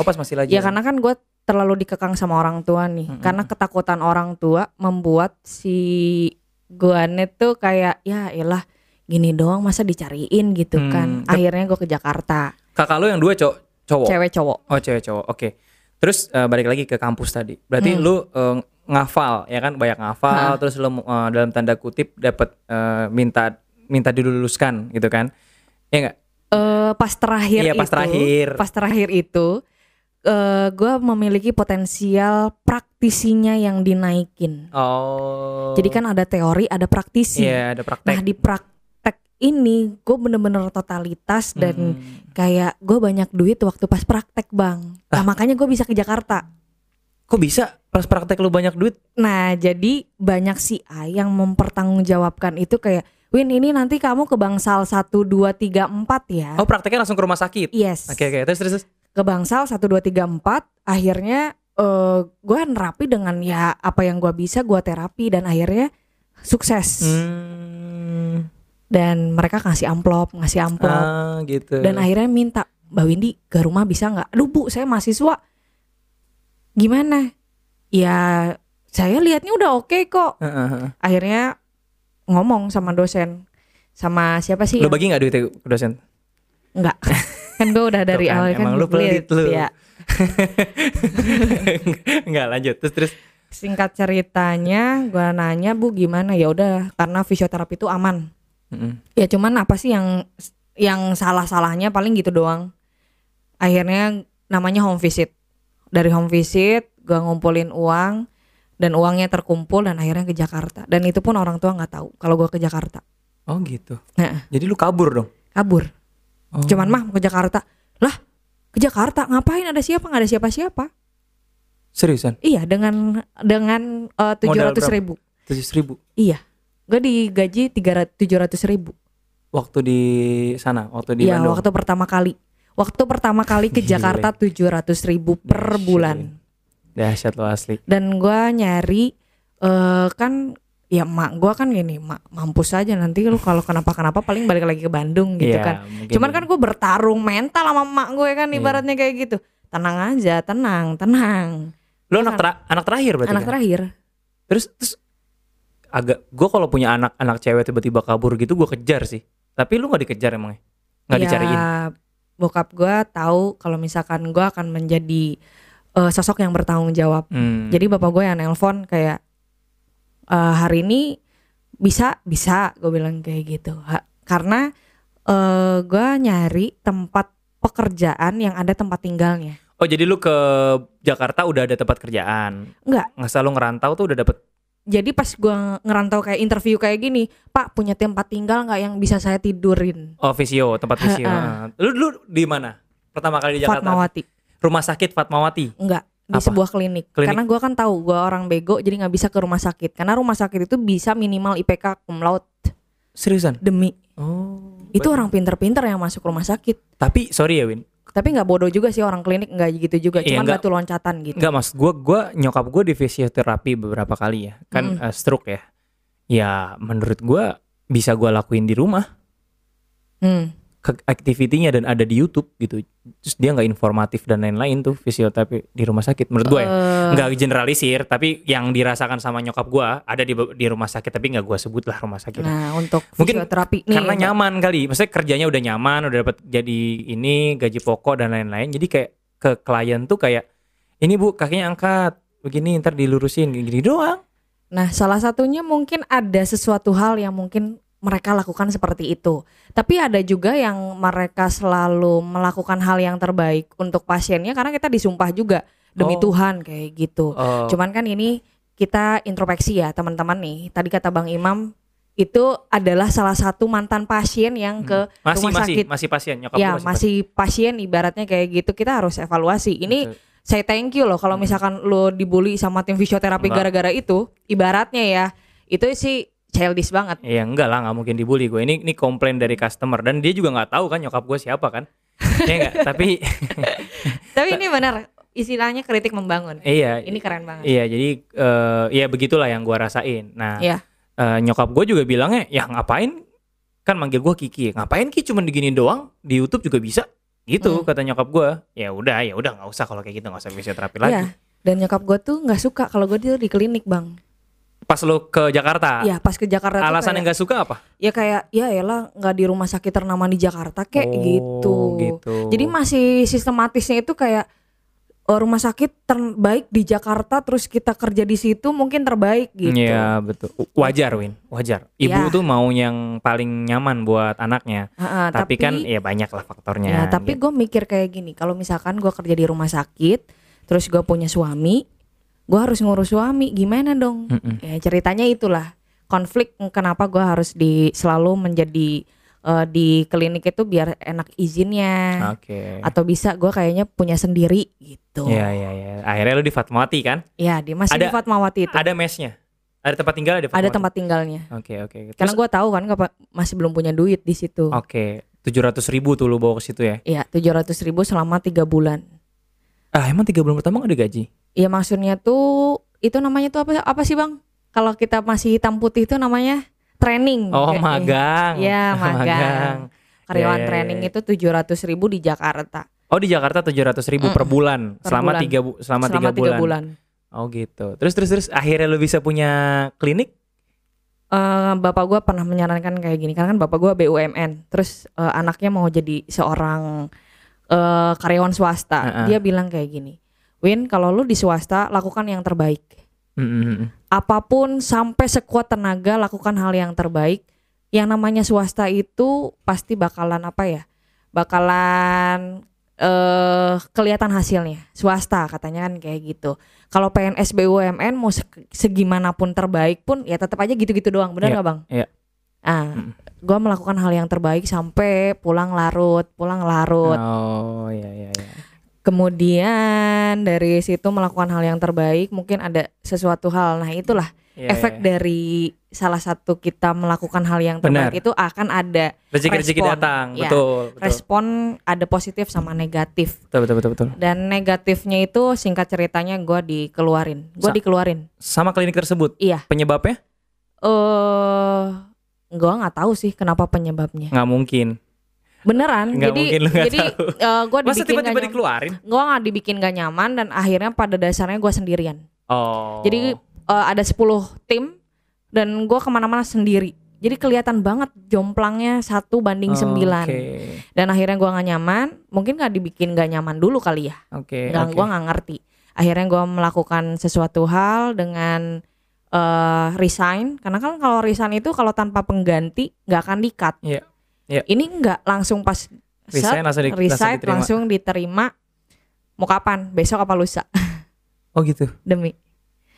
B: Oh pas masih lagi.
A: Ya karena kan gue terlalu dikekang sama orang tua nih.
B: Mm-mm.
A: Karena ketakutan orang tua membuat si guane tuh kayak ya elah gini doang masa dicariin gitu
B: Hmm,
A: kan.
B: tep-
A: Akhirnya gue ke Jakarta.
B: kakak lu yang dua cowok cowok.
A: Cewek cowok.
B: Oh cewek cowok. Oke. Terus eh, balik lagi ke kampus tadi. Berarti
A: Hmm.
B: lu eh, ngafal ya kan banyak ngafal terus lo eh, dalam tanda kutip dapat eh, minta minta diluluskan gitu kan ya nggak
A: Eh, pas terakhir
B: Iya, pas
A: itu,
B: terakhir.
A: pas terakhir itu, eh gue memiliki potensial praktisinya yang dinaikin.
B: oh
A: Jadi kan ada teori, ada praktisi.
B: iya ada
A: Nah
B: praktek
A: di praktek ini gue bener-bener totalitas dan
B: Hmm.
A: kayak gue banyak duit waktu pas praktek bang. Nah
B: Ah.
A: makanya gue bisa ke Jakarta.
B: kok bisa pas praktek lu banyak duit
A: Nah jadi banyak si A yang mempertanggungjawabkan itu kayak Win ini nanti kamu ke bangsal 1, 2, 3, 4 ya
B: oh prakteknya langsung ke rumah sakit
A: Yes
B: oke oke terus terus terus.
A: ke bangsal 1 2 3 4 akhirnya eh gue nerapi dengan ya apa yang gue bisa gue terapi dan akhirnya sukses
B: hmm.
A: dan mereka ngasih amplop ngasih amplop
B: ah gitu
A: dan akhirnya minta Mbak Windy ke rumah bisa nggak aduh bu saya mahasiswa gimana ya saya lihatnya udah oke kok
B: Heeh, heeh.
A: akhirnya ngomong sama dosen sama siapa sih
B: Lu
A: yang-
B: bagi nggak duitnya ke
A: *laughs*
B: dosen?
A: Enggak kan gue udah dari
B: Tuh kan,
A: awal kan
B: emang lu pelit lu.
A: ya.
B: Enggak lanjut. Terus terus.
A: singkat ceritanya gua nanya bu gimana ya udah karena fisioterapi itu aman
B: Mm-mm.
A: ya cuman apa sih yang yang salah salahnya paling gitu doang akhirnya namanya home visit dari home visit gua ngumpulin uang dan uangnya terkumpul dan akhirnya ke Jakarta dan itu pun orang tua nggak tahu kalau gua ke Jakarta
B: Oh gitu.
A: Nah.
B: Jadi lu kabur dong.
A: kabur
B: Oh.
A: cuman mah mau ke Jakarta lah ke Jakarta ngapain ada siapa nggak ada siapa siapa
B: seriusan
A: iya dengan dengan eh, tujuh
B: Modal
A: ratus
B: berapa?
A: ribu
B: tujuh ribu
A: Iya. Gue digaji tujuh ratus ribu.
B: waktu di sana waktu di
A: Iya
B: Bandung.
A: waktu pertama kali. Waktu pertama kali
B: *laughs*
A: ke
B: Gile.
A: Jakarta tujuh ratus ribu per
B: Dahsyat.
A: bulan.
B: Dahsyat lo asli.
A: Dan gue nyari eh kan ya mak gue kan gini mak mampus aja nanti lu kalau kenapa kenapa paling balik lagi ke Bandung gitu
B: Iya,
A: kan.
B: mungkin.
A: Cuman kan gue bertarung mental sama mak gue kan
B: Iya.
A: ibaratnya kayak gitu. Tenang aja, tenang, tenang.
B: lu anak tera- anak terakhir berarti.
A: Anak
B: kan?
A: terakhir.
B: Terus terus agak gue kalau punya anak anak cewek tiba-tiba kabur gitu gue kejar sih. Tapi lu nggak dikejar emangnya? Nggak
A: Ya,
B: dicariin.
A: Bokap gue tahu kalau misalkan gue akan menjadi eh, sosok yang bertanggung jawab.
B: Hmm.
A: Jadi bapak gue yang nelpon kayak "Eh, hari ini bisa bisa gue bilang kayak gitu Ha- karena eh gue nyari tempat pekerjaan yang ada tempat tinggalnya.
B: Oh jadi lu ke Jakarta udah ada tempat kerjaan.
A: Enggak.
B: Nggak selalu ngerantau tuh udah dapet.
A: Jadi pas gue ngerantau kayak interview kayak gini, Pak punya tempat tinggal nggak yang bisa saya tidurin?
B: Oh visio tempat visio.
A: Ha-ha.
B: Lu lu di mana? Pertama kali di Jakarta.
A: Fatmawati,
B: Rumah sakit Fatmawati.
A: enggak di
B: Apa?
A: sebuah klinik.
B: Klinik?
A: Karena gue kan tahu gue orang bego, jadi nggak bisa ke rumah sakit. Karena rumah sakit itu bisa minimal IPK cum laude
B: Seriusan?
A: demi
B: Oh.
A: itu orang pinter-pinter yang masuk rumah sakit.
B: Tapi sorry ya Win,
A: tapi nggak bodoh juga sih orang klinik nggak gitu juga
B: Iya,
A: cuman
B: nggak-
A: batu loncatan gitu
B: Enggak mas, gue gua nyokap gue di fisioterapi beberapa kali ya, kan
A: Mm-mm.
B: eh, stroke ya. Ya menurut gue bisa gue lakuin di rumah
A: hmm.
B: ke activity-nya dan ada di YouTube gitu. Terus dia nggak informatif dan lain-lain tuh fisioterapi di rumah sakit. Menurut gue ya,
A: Eh,
B: nggak generalisir, tapi yang dirasakan sama nyokap gue ada di di rumah sakit, tapi nggak gue sebut lah rumah sakit.
A: nah untuk
B: gitu. Mungkin
A: fisioterapi nih
B: Karena nyaman kali, maksudnya kerjanya udah nyaman, udah dapat jadi ini gaji pokok dan lain-lain. Jadi kayak ke klien tuh kayak ini bu kakinya angkat begini ntar dilurusin gini doang.
A: nah salah satunya mungkin ada sesuatu hal yang mungkin mereka lakukan seperti itu tapi ada juga yang mereka selalu melakukan hal yang terbaik untuk pasiennya karena kita disumpah juga demi
B: Oh.
A: Tuhan kayak gitu
B: Oh,
A: cuman kan ini kita introspeksi ya teman-teman nih tadi kata Bang Imam itu adalah salah satu mantan pasien yang
B: Hmm.
A: ke
B: masih
A: rumah
B: masih
A: sakit.
B: masih pasien nyokap
A: ya
B: gua
A: masih pasien ibaratnya kayak gitu kita harus evaluasi
B: pasien.
A: ini
B: Betul.
A: saya thank you loh kalau
B: Hmm.
A: misalkan lo dibully sama tim fisioterapi
B: Enggak.
A: gara-gara itu ibaratnya ya itu sih childish banget
B: ya enggak lah nggak mungkin dibully gue ini ini komplain dari customer dan dia juga nggak tahu kan nyokap gue siapa kan ya enggak
A: *laughs*
B: tapi
A: tapi ini benar istilahnya kritik membangun
B: iya
A: ini keren banget
B: iya jadi eh ya begitulah yang gue rasain nah
A: Iya.
B: eh, nyokap gue juga bilangnya ya ngapain kan manggil gue Kiki ngapain Ki cuman digini doang di YouTube juga bisa
A: Hmm.
B: gitu kata nyokap gue ya udah ya udah nggak usah kalau kayak gitu nggak usah fisioterapi
A: Iya.
B: lagi
A: dan nyokap gue tuh nggak suka kalau gue di klinik bang
B: pas lo ke Jakarta
A: ya pas ke Jakarta tuh
B: alasan yang
A: kayak,
B: nggak suka apa
A: ya kayak ya elah nggak di rumah sakit ternama di Jakarta kayak
B: Oh,
A: gitu
B: gitu
A: Jadi masih sistematisnya itu kayak eh, rumah sakit terbaik di Jakarta terus kita kerja di situ mungkin terbaik gitu.
B: Iya betul. Wajar Win, wajar.
A: Ya.
B: Ibu tuh mau yang paling nyaman buat anaknya.
A: Ha-ha,
B: tapi, kan ya banyak lah faktornya.
A: Ya, Nah, tapi
B: gitu.
A: gue mikir kayak gini, kalau misalkan gue kerja di rumah sakit, terus gue punya suami, gue harus ngurus suami, gimana dong?
B: Mm-mm.
A: Ya, ceritanya itulah konflik kenapa gue harus di selalu menjadi eh, di klinik itu biar enak izinnya,
B: Oke.
A: atau bisa gue kayaknya punya sendiri gitu.
B: Iya iya iya. Akhirnya lu di Fatmawati kan?
A: Ya, di masih di
B: Ada-
A: Fatmawati itu
B: Ada mesnya. Ada tempat tinggal
A: Gitu.
B: ada
A: ada
B: Fatmawati?
A: tempat tinggalnya.
B: Oke
A: Karena
B: oke. Terus-
A: gue tahu kan kapa- masih belum punya duit di situ.
B: Oke. Tujuh ratus ribu tuh lu bawa ke situ ya?
A: Iya, tujuh ratus ribu selama tiga bulan.
B: Ah emang tiga bulan pertama gak ada gaji?
A: Iya maksudnya tuh itu namanya tuh apa apa sih bang? Kalau kita masih hitam putih itu namanya training.
B: Oh
A: Kayak-
B: *laughs* magang.
A: Iya magang. Karyawan
B: Ya, ya, ya,
A: training
B: ya.
A: itu tujuh ratus ribu di Jakarta
B: Oh di Jakarta tujuh ratus ribu per bulan
A: per
B: selama
A: bulan.
B: tiga bu- selama,
A: selama
B: tiga bulan.
A: bulan.
B: Oh gitu. Terus terus terus akhirnya lu bisa punya klinik?
A: Eh, bapak gua pernah menyarankan kayak gini karena kan bapak gua BUMN, terus eh, anaknya mau jadi seorang eh, karyawan swasta.
B: Heeh.
A: Dia bilang kayak gini, Win kalau lu di swasta lakukan yang terbaik.
B: Mm-mm.
A: apapun sampai sekuat tenaga lakukan hal yang terbaik. Yang namanya swasta itu pasti bakalan apa ya? Bakalan eh kelihatan hasilnya. Swasta katanya kan kayak gitu. Kalau PNS BUMN mau se- segimanapun terbaik pun ya tetap aja gitu-gitu doang, benar nggak Bang?
B: iya.
A: Ah, gua melakukan hal yang terbaik sampai pulang larut, pulang larut.
B: Oh iya iya iya.
A: Kemudian dari situ melakukan hal yang terbaik, mungkin ada sesuatu hal. Nah, itulah
B: Iya,
A: efek
B: iya.
A: dari salah satu kita melakukan hal yang terbaik
B: Benar.
A: itu akan ada
B: rezeki-rezeki
A: respon.
B: datang.
A: Iya.
B: Betul, betul.
A: respon ada positif sama negatif
B: Betul, betul, betul, betul.
A: dan negatifnya itu singkat ceritanya gue dikeluarin gue
B: Sa-
A: dikeluarin
B: Sama klinik tersebut.
A: Iya.
B: Penyebabnya?
A: eh gue nggak tahu sih kenapa penyebabnya
B: Nggak mungkin.
A: beneran
B: Nggak
A: jadi
B: mungkin lu nggak
A: jadi
B: tahu.
A: gue dibikin
B: Masa tiba-tiba
A: gak nyaman
B: dikeluarin?
A: gue nggak dibikin gak nyaman dan akhirnya pada dasarnya gue sendirian
B: Oh.
A: Jadi eh, ada 10 tim dan gua kemana-mana sendiri. Jadi kelihatan banget jomplangnya satu banding
B: Oh,
A: sembilan.
B: Oke.
A: Dan akhirnya gua nggak nyaman. Mungkin nggak dibikin nggak nyaman dulu kali ya.
B: Oke.
A: Dan
B: oke.
A: gua nggak ngerti. Akhirnya gua melakukan sesuatu hal dengan eh, resign. Karena kan kalau resign itu kalau tanpa pengganti nggak akan dikat.
B: Iya, iya.
A: Ini nggak langsung pas set,
B: Resign langsung di- langsung
A: resign
B: diterima.
A: langsung diterima. Mau kapan? Besok apa lusa?
B: Oh gitu.
A: Demi.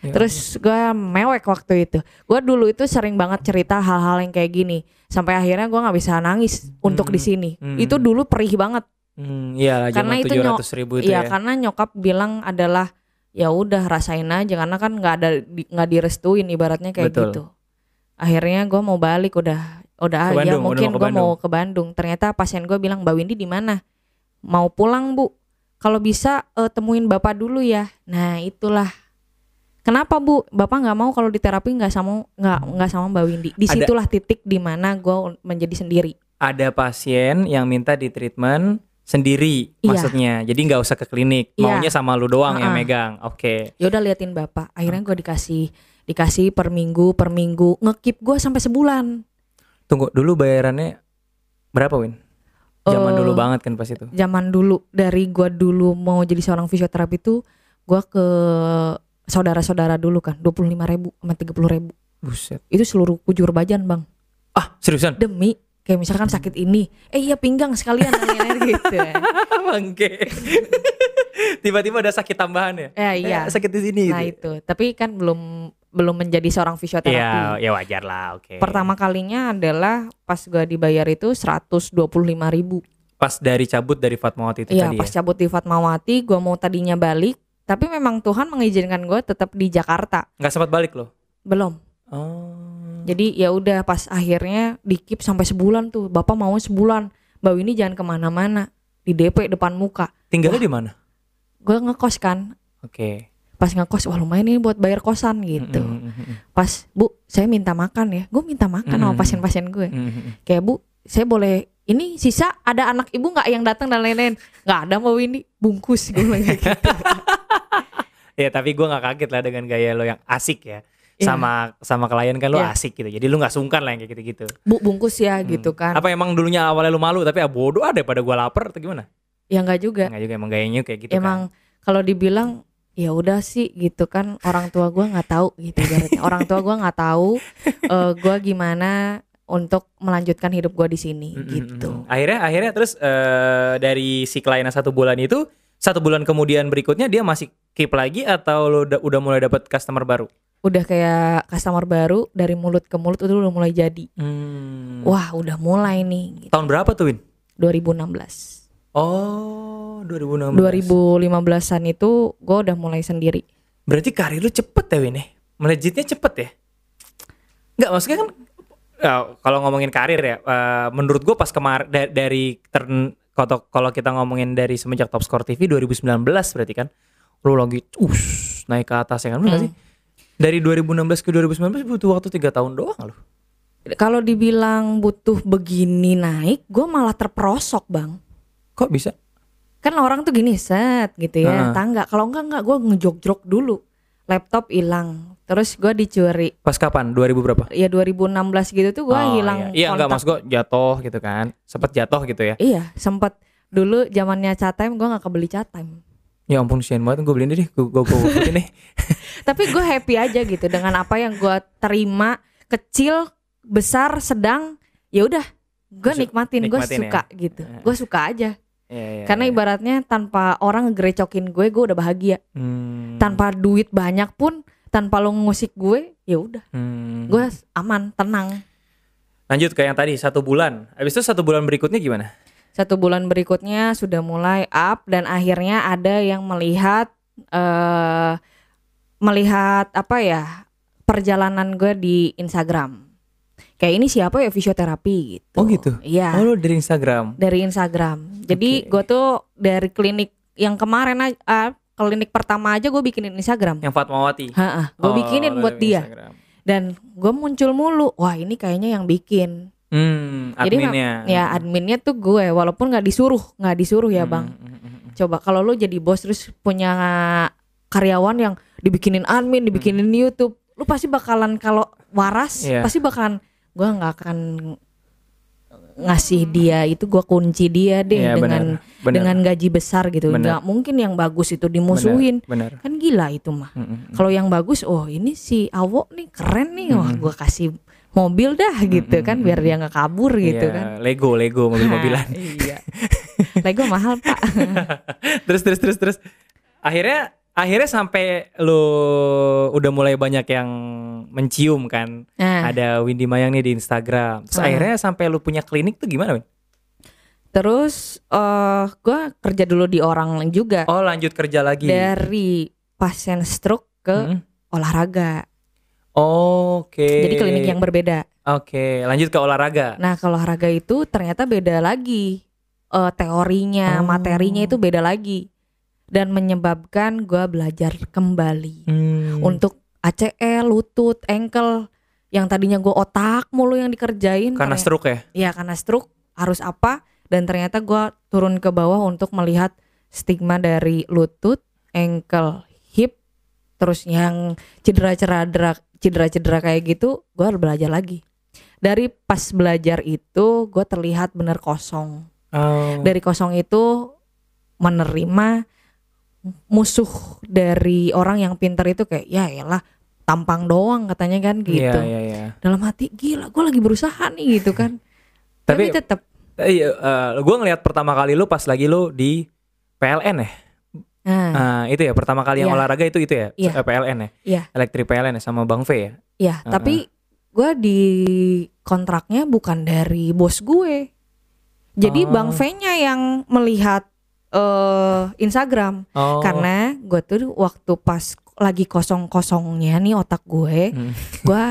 B: Ya.
A: Terus gue mewek waktu itu. Gue dulu itu sering banget cerita hal-hal yang kayak gini. Sampai akhirnya gue nggak bisa nangis untuk di sini.
B: hmm.
A: Itu dulu perih banget.
B: Hmm, iya lah
A: Karena
B: zaman
A: itu
B: tujuh ratus ribu itu
A: Iya
B: ya.
A: karena nyokap bilang adalah ya udah rasain aja karena kan nggak ada di- nggak direstuin ibaratnya kayak
B: Betul.
A: gitu. Akhirnya gue mau balik udah udah ah, ya
B: Ke Bandung, udah
A: mungkin
B: mau ke
A: gue mau ke Bandung. Ternyata pasien gue bilang Mbak Windy di mana? Mau pulang bu? Kalau bisa eh, temuin bapak dulu ya. Nah itulah. Kenapa bu? Bapak nggak mau kalau di terapi nggak sama nggak nggak sama Mbak Windy. Disitulah titik di mana gue menjadi sendiri.
B: Ada pasien yang minta di treatment sendiri
A: Iya.
B: maksudnya. Jadi nggak usah ke klinik.
A: Iya.
B: Maunya sama lu doang yang
A: Ha-ha.
B: megang. Oke.
A: ya udah liatin bapak akhirnya gue dikasih dikasih per minggu per minggu ngekip gue sampai sebulan
B: Tunggu dulu bayarannya berapa Win? Zaman
A: Eh,
B: dulu banget kan pas itu.
A: zaman dulu dari gue dulu mau jadi seorang fisioterapi tuh gue ke saudara-saudara dulu kan dua puluh ribu sama tiga ribu
B: Buset.
A: itu seluruh kujur bajan bang
B: Ah seriusan? *laughs*
A: demi kayak misalkan sakit ini eh iya pinggang sekalian *laughs* lain-lain gitu
B: Bangke. *laughs* Tiba-tiba ada sakit tambahan ya?
A: ya iya
B: Eh, *laughs* sakit di sini.
A: nah
B: gitu.
A: itu tapi kan belum belum menjadi seorang fisioterapi
B: Ya, ya wajar lah, oke.
A: pertama kalinya adalah pas gue dibayar itu 125.000 ribu
B: pas dari cabut dari Fatmawati itu
A: Iya
B: tadi
A: pas
B: ya.
A: cabut di Fatmawati gue mau tadinya balik tapi memang Tuhan mengizinkan gue tetap di Jakarta
B: Nggak sempat balik loh.
A: belum
B: Oh.
A: jadi ya udah pas akhirnya dikip sampai sebulan tuh bapak mau sebulan mbak ini jangan kemana-mana di DP depan muka
B: Tinggalnya di mana?
A: gue ngekos kan
B: Oke.
A: pas ngekos wah lumayan ini buat bayar kosan gitu
B: Mm, mm, mm, mm,
A: pas bu saya minta makan ya gue minta makan sama
B: Mm.
A: pasien-pasien gue
B: mm, mm, mm.
A: kayak bu saya boleh ini sisa ada anak ibu nggak yang datang dan lain-lain nggak ada mbak Windy bungkus gue bilang
B: *laughs*
A: gitu.
B: Ya tapi gue nggak kaget lah dengan gaya lo yang asik ya.
A: Iya.
B: Sama sama klien kan lo
A: Iya.
B: asik gitu. Jadi lo nggak sungkan lah yang kayak gitu-gitu.
A: bu bungkus ya
B: Hmm.
A: gitu kan
B: Apa emang dulunya awalnya lo malu tapi ah bodoh ah daripada gue lapar atau gimana?
A: ya nggak juga
B: Nggak juga emang gayanya kayak gitu
A: emang kalau dibilang ya udah sih gitu kan orang tua gua nggak tahu gitu ibaratnya. orang tua gua nggak
B: *laughs*
A: tahu eh, gua gimana untuk melanjutkan hidup gua di sini gitu
B: Mm-mm. Akhirnya akhirnya terus eh, dari si kelainan satu bulan itu satu bulan kemudian berikutnya dia masih keep lagi atau lo udah, udah mulai dapat customer baru?
A: udah kayak customer baru dari mulut ke mulut itu udah mulai jadi
B: Mm.
A: wah udah mulai nih gitu.
B: Tahun berapa tuh Win?
A: 2016
B: Oh 2016.
A: 2015an itu gua udah mulai sendiri
B: Berarti karir lu cepet ya Win ya? Melejitnya cepet ya? Nggak maksudnya kan ya, kalau ngomongin karir ya, eh, menurut gua pas kemarin dari turn kalau kalau kita ngomongin dari semenjak Top Score TV 2019 berarti kan lu lagi us naik ke atas ya
A: Hmm.
B: kan bener nggak sih? Dari 2016 ke 2019 butuh waktu tiga tahun doang lu.
A: kalau dibilang butuh begini naik gua malah terperosok bang
B: Kok bisa?
A: kan orang tuh gini set gitu ya
B: Ah.
A: tangga kalau enggak enggak gue ngejogrok dulu laptop hilang terus gue dicuri
B: Pas kapan? 2000 berapa?
A: ya 2016 gitu tuh gue
B: Oh,
A: hilang
B: Iya, iya
A: kontak.
B: enggak maksud gua jatuh gitu kan. Sempet jatuh gitu ya.
A: iya sempet dulu zamannya cat time gue nggak kebeli cat time
B: Ya ampun sian banget gue beliin deh deh, gue gue
A: *laughs*
B: ikutin deh.
A: tapi gue happy aja gitu dengan apa yang gue terima kecil besar sedang ya udah gue
B: Su-
A: nikmatin gue
B: nikmatin ya.
A: suka gitu
B: Iya.
A: gue suka aja
B: Iya, iya,
A: karena
B: iya.
A: ibaratnya tanpa orang ngegerecokin gue gue udah bahagia
B: Hmm.
A: tanpa duit banyak pun tanpa lo ngusik gue ya udah
B: Hmm.
A: gue aman tenang
B: lanjut ke yang tadi satu bulan habis itu satu bulan berikutnya gimana
A: satu bulan berikutnya sudah mulai up dan akhirnya ada yang melihat eh melihat apa ya perjalanan gue di Instagram kayak ini siapa ya fisioterapi gitu
B: Oh, gitu?
A: iya
B: oh lo dari Instagram
A: dari Instagram jadi
B: Oke.
A: gue tuh dari klinik yang kemarin aja ah, klinik pertama aja gue bikinin Instagram
B: yang Fatmawati
A: Heeh, gue
B: Ya. Oh,
A: bikinin
B: lo
A: buat
B: dari
A: dia
B: Instagram.
A: dan gue muncul mulu wah ini kayaknya yang bikin
B: hmm
A: Jadi mem-
B: adminnya
A: ya adminnya tuh gue walaupun nggak disuruh nggak disuruh ya
B: Hmm,
A: bang
B: hmm, hmm, hmm.
A: coba kalau lu jadi bos terus punya karyawan yang dibikinin admin dibikinin YouTube lu pasti bakalan kalau waras
B: Hmm. Iya.
A: pasti bakalan gue nggak akan ngasih dia itu gue kunci dia deh
B: Hmm. Iya,
A: dengan
B: benar, benar.
A: dengan gaji besar gitu
B: Benar.
A: nggak mungkin yang bagus itu dimusuhin
B: benar
A: kan gila itu mah
B: Hmm, hmm,
A: kalau yang bagus oh ini si Awo nih keren nih wah gue kasih mobil dah gitu kan biar dia nggak kabur
B: Hmm. hmm.
A: gitu
B: Iya,
A: kan
B: Lego Lego mobil
A: *laughs*
B: mobilan
A: Nah, iya. Lego mahal pak.
B: terus terus terus terus akhirnya akhirnya sampai lo udah mulai banyak yang mencium kan
A: Nah,
B: ada Windy Mayang nih di Instagram terus
A: Ah.
B: akhirnya sampai lo punya klinik tuh gimana Win?
A: terus eh gue kerja dulu di orang lain juga
B: oh lanjut kerja lagi
A: dari pasien stroke ke
B: Hmm.
A: olahraga.
B: Oke.
A: Jadi klinik yang berbeda.
B: Oke, lanjut ke olahraga.
A: Nah kalau olahraga itu ternyata beda lagi Eh, teorinya,
B: Oh.
A: materinya itu beda lagi dan menyebabkan gue belajar kembali
B: Hmm.
A: untuk ACL, lutut, ankle yang tadinya gue otak mulu yang dikerjain
B: karena
A: ternyata-
B: stroke
A: ya
B: ya.
A: karena stroke harus apa dan ternyata gua turun ke bawah untuk melihat stigma dari lutut, ankle, hip, terus yang cedera-cedera cedera-cedera kayak gitu, gua harus belajar lagi. Dari pas belajar itu, gua terlihat bener kosong.
B: Oh.
A: Dari kosong itu menerima musuh dari orang yang pinter itu kayak ya elah tampang doang katanya kan gitu.
B: Iya, iya, iya.
A: Dalam hati gila, gua lagi berusaha nih gitu
B: *laughs*
A: kan.
B: Tapi-
A: Tapi, tetap
B: Eh, Iya, gue ngelihat pertama kali lu pas lagi lu di PLN ya.
A: Nah,
B: Ah, itu ya pertama kali yang
A: Iya.
B: olahraga itu itu ya.
A: Iya.
B: Eh, PLN ya.
A: Iya.
B: Elektrik PLN ya sama Bang V ya.
A: ya,
B: Heeh.
A: tapi gue di kontraknya bukan dari bos gue. Jadi
B: Oh.
A: Bang V-nya yang melihat eh Instagram
B: Oh.
A: karena gue tuh waktu pas lagi kosong-kosongnya nih otak
B: *laughs*
A: gue,
B: Hmm.
A: gue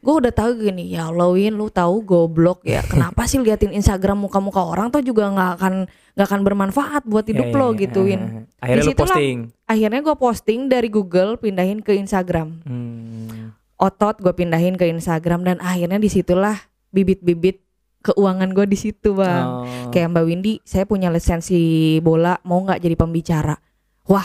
A: gue udah tahu gini ya Lowin lu tahu goblok ya kenapa sih liatin Instagram muka-muka orang tuh juga nggak akan nggak akan bermanfaat buat
B: Iya,
A: hidup
B: iya,
A: lo
B: iya.
A: gituin
B: Akhirnya lu
A: Disitulah-
B: posting.
A: akhirnya gue posting dari Google pindahin ke Instagram
B: Hmm.
A: otot gue pindahin ke Instagram dan akhirnya disitulah bibit-bibit keuangan gue di situ bang.
B: Oh.
A: Kayak Mbak Windy, saya punya lisensi bola, mau nggak jadi pembicara? Wah,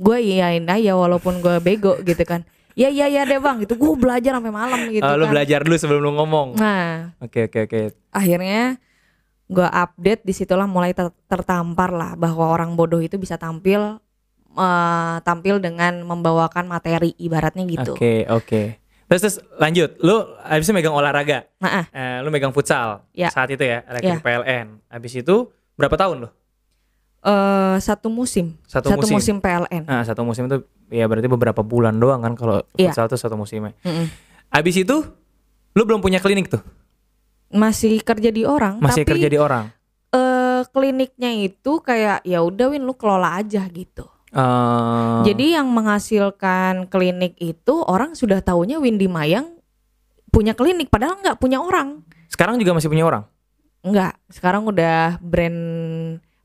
A: gue iyain aja walaupun gue bego gitu kan. Ya ya ya deh bang, itu gue belajar sampai malam gitu
B: Ah, lu
A: kan.
B: belajar dulu sebelum lu ngomong.
A: Nah,
B: Oke, oke, oke.
A: akhirnya gue update disitulah mulai ter- tertampar lah bahwa orang bodoh itu bisa tampil eh, tampil dengan membawakan materi ibaratnya gitu.
B: Oke, oke. Terus terus lanjut. Lu habis itu megang olahraga.
A: Nah, ah,
B: Eh, lu megang futsal
A: Ya.
B: saat itu ya, elektrik PLN. Habis itu berapa tahun lo?
A: eh, satu musim,
B: Satu musim.
A: musim. PLN.
B: Nah, satu musim itu ya berarti beberapa bulan doang kan kalau
A: Iya.
B: futsal itu satu musimnya.
A: Mm-mm.
B: Habis itu lu belum punya klinik tuh.
A: Masih kerja di orang,
B: Masih
A: tapi
B: kerja di orang.
A: eh, kliniknya itu kayak ya udah Win lu kelola aja gitu.
B: Eh,
A: Jadi yang menghasilkan klinik itu orang sudah taunya Windy Mayang punya klinik padahal nggak punya orang.
B: sekarang juga masih punya orang.
A: Nggak, sekarang udah brand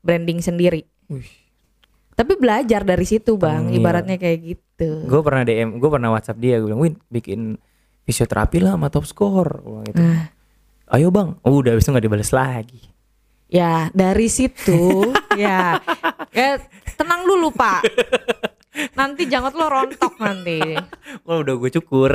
A: branding sendiri.
B: Wih.
A: Tapi belajar dari situ, Bang.
B: Iya.
A: Ibaratnya kayak gitu.
B: Gue pernah DM, gue pernah WhatsApp dia, gue bilang, "Win, bikin fisioterapi lah sama top score." Gua bilang gitu.
A: Nah,
B: Ayo, Bang. Udah habis itu nggak dibales lagi.
A: ya dari situ ya. Ya, tenang dulu, Pak. Nanti jangan lo rontok nanti.
B: Wah, udah gue cukur.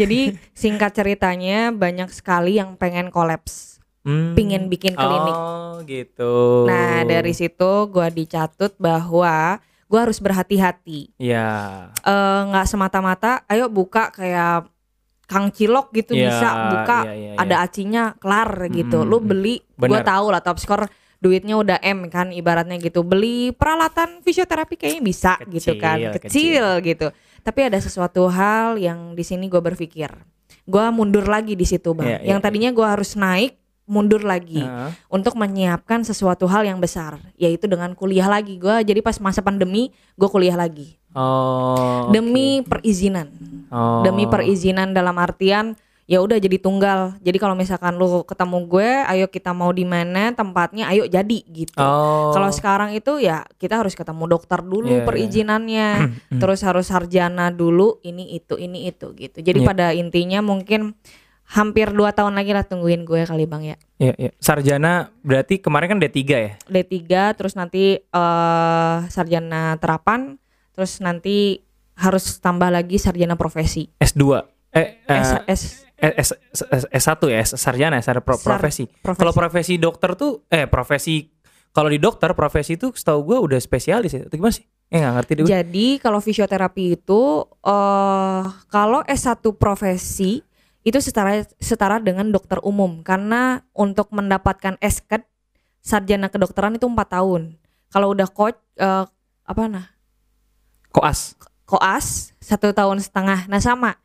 A: Jadi singkat ceritanya banyak sekali yang pengen kolaps,
B: Hmm.
A: pingin bikin klinik.
B: Oh, gitu.
A: Nah dari situ gua dicatut bahwa gua harus berhati-hati
B: ya.
A: Eh, nggak semata-mata ayo buka kayak Kang Cilok gitu
B: Ya,
A: bisa buka
B: ya, ya, ya.
A: ada acinya kelar gitu
B: Mm,
A: lu
B: mm.
A: beli gua
B: Benar.
A: tahu lah top score duitnya udah M kan ibaratnya gitu beli peralatan fisioterapi kayaknya bisa gitu kan
B: Kecil,
A: kecil, gitu tapi ada sesuatu hal yang di sini gua berpikir gua mundur lagi di situ bang
B: Ya, ya,
A: yang tadinya gua harus naik mundur lagi
B: Heeh.
A: untuk menyiapkan sesuatu hal yang besar yaitu dengan kuliah lagi gue jadi pas masa pandemi gue kuliah lagi
B: Oh.
A: demi perizinan
B: oke. Oh.
A: demi perizinan dalam artian ya udah jadi tunggal jadi kalau misalkan lu ketemu gue ayo kita mau di mana tempatnya ayo jadi gitu
B: Oh.
A: kalau sekarang itu ya kita harus ketemu dokter dulu
B: Iya, Hmm. iya. *clears throat*
A: perizinannya, terus harus sarjana dulu ini itu ini itu gitu. Jadi
B: Iya.
A: pada intinya mungkin hampir dua tahun lagi lah tungguin gue kali bang ya.
B: Ya, ya. sarjana berarti kemarin kan D3 ya?
A: D3 terus nanti eh sarjana terapan terus nanti harus tambah lagi sarjana profesi
B: S2. Eh, eh,
A: S, S
B: S, S- S1 ya, S- sarjana, sarjana pro-
A: Sar-
B: profesi.
A: profesi.
B: Kalau profesi dokter tuh eh profesi kalau di dokter profesi itu setahu gua udah spesialis ya. Atau gimana sih? Eh nggak ngerti deh. gua.
A: jadi kalau fisioterapi itu eh kalau S1 profesi itu setara setara dengan dokter umum karena untuk mendapatkan SKED sarjana kedokteran itu empat tahun kalau udah coach eh, apa nah
B: Koas.
A: koas satu tahun setengah. Nah sama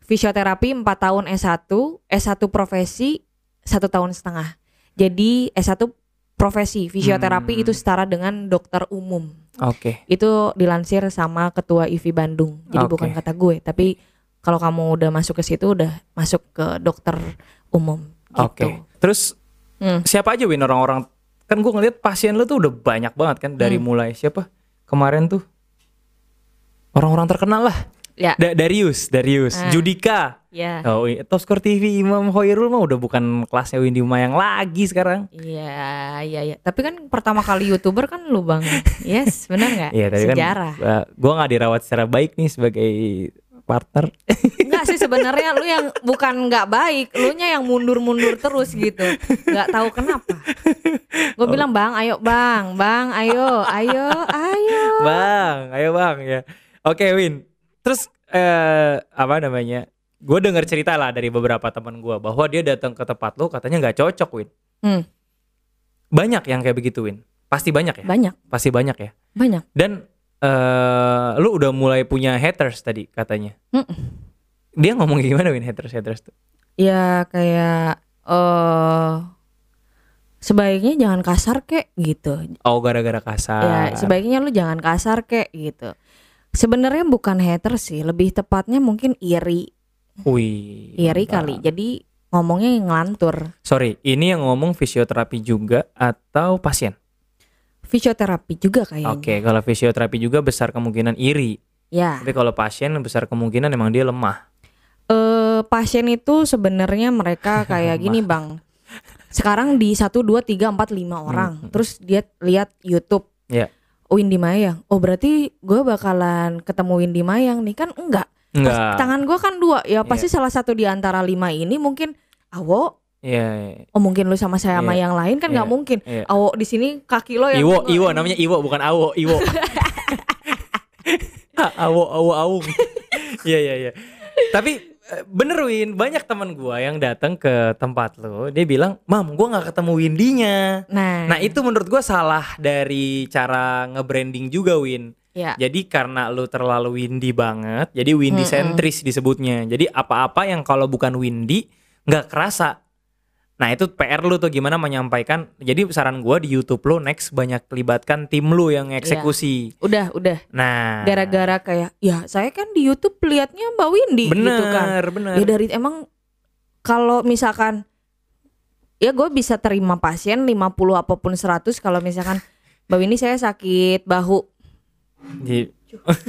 A: fisioterapi 4 tahun S1, S1 profesi satu tahun setengah. Jadi S1 profesi fisioterapi
B: Hmm.
A: itu setara dengan dokter umum.
B: Oke.
A: Itu dilansir sama ketua IVI Bandung. Jadi
B: Ah, Oke.
A: bukan kata gue, tapi kalau kamu udah masuk ke situ udah masuk ke dokter umum gitu.
B: Oke. Terus
A: Hmm.
B: siapa aja Win orang-orang kan gua ngeliat pasien lu tuh udah banyak banget kan dari
A: Hmm.
B: mulai siapa? Kemarin tuh orang-orang terkenal lah.
A: Ya.
B: Da- Darius, Darius,
A: Ah.
B: Judika.
A: Ya.
B: Oh, iya. Top Score TV Imam Hoirul mah udah bukan kelasnya Windy Mayang lagi sekarang.
A: Iya, iya, iya. Tapi kan pertama kali YouTuber kan lu, Bang. Yes, benar nggak?
B: Iya tadi
A: Ya, Sejarah.
B: kan uh, gue nggak dirawat secara baik nih sebagai partner.
A: Enggak sih sebenarnya lu yang bukan nggak baik, lu nya yang mundur-mundur terus gitu. Nggak tahu kenapa.
B: Oh.
A: Gue bilang, "Bang, ayo, Bang. Bang, ayo, ayo, ayo."
B: bang, ayo bang ya. Oke Win. Terus eh apa namanya? Gue dengar cerita lah dari beberapa teman gue bahwa dia datang ke tempat lo katanya nggak cocok Win.
A: Hmm,
B: Banyak yang kayak begitu Win. Pasti banyak ya.
A: banyak,
B: Pasti banyak ya.
A: banyak.
B: Dan eh lu udah mulai punya haters tadi katanya.
A: Mm-mm.
B: Dia ngomong kayak gimana Win haters haters tuh?
A: Ya kayak eh sebaiknya jangan kasar kek gitu.
B: Oh gara-gara kasar.
A: Ya, sebaiknya lu jangan kasar kek gitu. Sebenarnya bukan hater sih, lebih tepatnya mungkin iri,
B: Wih.
A: iri
B: mantap.
A: kali. Jadi ngomongnya yang ngelantur.
B: Sorry, ini yang ngomong fisioterapi juga atau pasien?
A: Fisioterapi juga kayaknya.
B: Oke, kalau fisioterapi juga besar kemungkinan iri.
A: Ya.
B: Tapi kalau pasien besar kemungkinan emang dia lemah.
A: eh pasien itu sebenarnya
B: *laughs*
A: mereka kayak gini bang sekarang di satu dua tiga empat
B: Hmm,
A: lima orang terus dia lihat YouTube
B: Iya.
A: Oh, Windy Mayang oh berarti gue bakalan ketemu Windy Mayang nih kan enggak Pas-
B: Enggak. Ya.
A: tangan gue kan dua ya pasti salah satu di antara lima ini mungkin awo
B: Iya.
A: Oh mungkin lu sama saya sama
B: Iya.
A: yang lain kan nggak
B: Iya.
A: mungkin.
B: Iya.
A: Awo di sini kaki lo yang
B: Iwo, Iwo namanya Iwo bukan Awo, Iwo. *laughs* Ah, awo, awo, awung. *laughs* Iya, iya, iya. Tapi eh, bener Win, banyak teman gua yang datang ke tempat lo, dia bilang, "Mam, gua nggak ketemu Windinya."
A: Nah,
B: Nah, itu menurut gua salah dari cara nge-branding juga, Win.
A: ya.
B: Jadi karena lu terlalu windy banget, jadi windy sentris disebutnya. Jadi apa-apa yang kalau bukan windy nggak kerasa. Nah itu PR lu tuh gimana menyampaikan. Jadi saran gua di YouTube lu next banyak libatkan tim lu yang eksekusi.
A: Udah, udah. Iya.
B: Nah,
A: Gara-gara kayak ya saya kan di YouTube liatnya Mbak Windy
B: bener,
A: gitu kan.
B: bener.
A: Ya dari emang kalau misalkan ya gue bisa terima pasien 50 apapun 100 kalau misalkan Mbak Windy saya sakit bahu
B: Jadi- *laughs*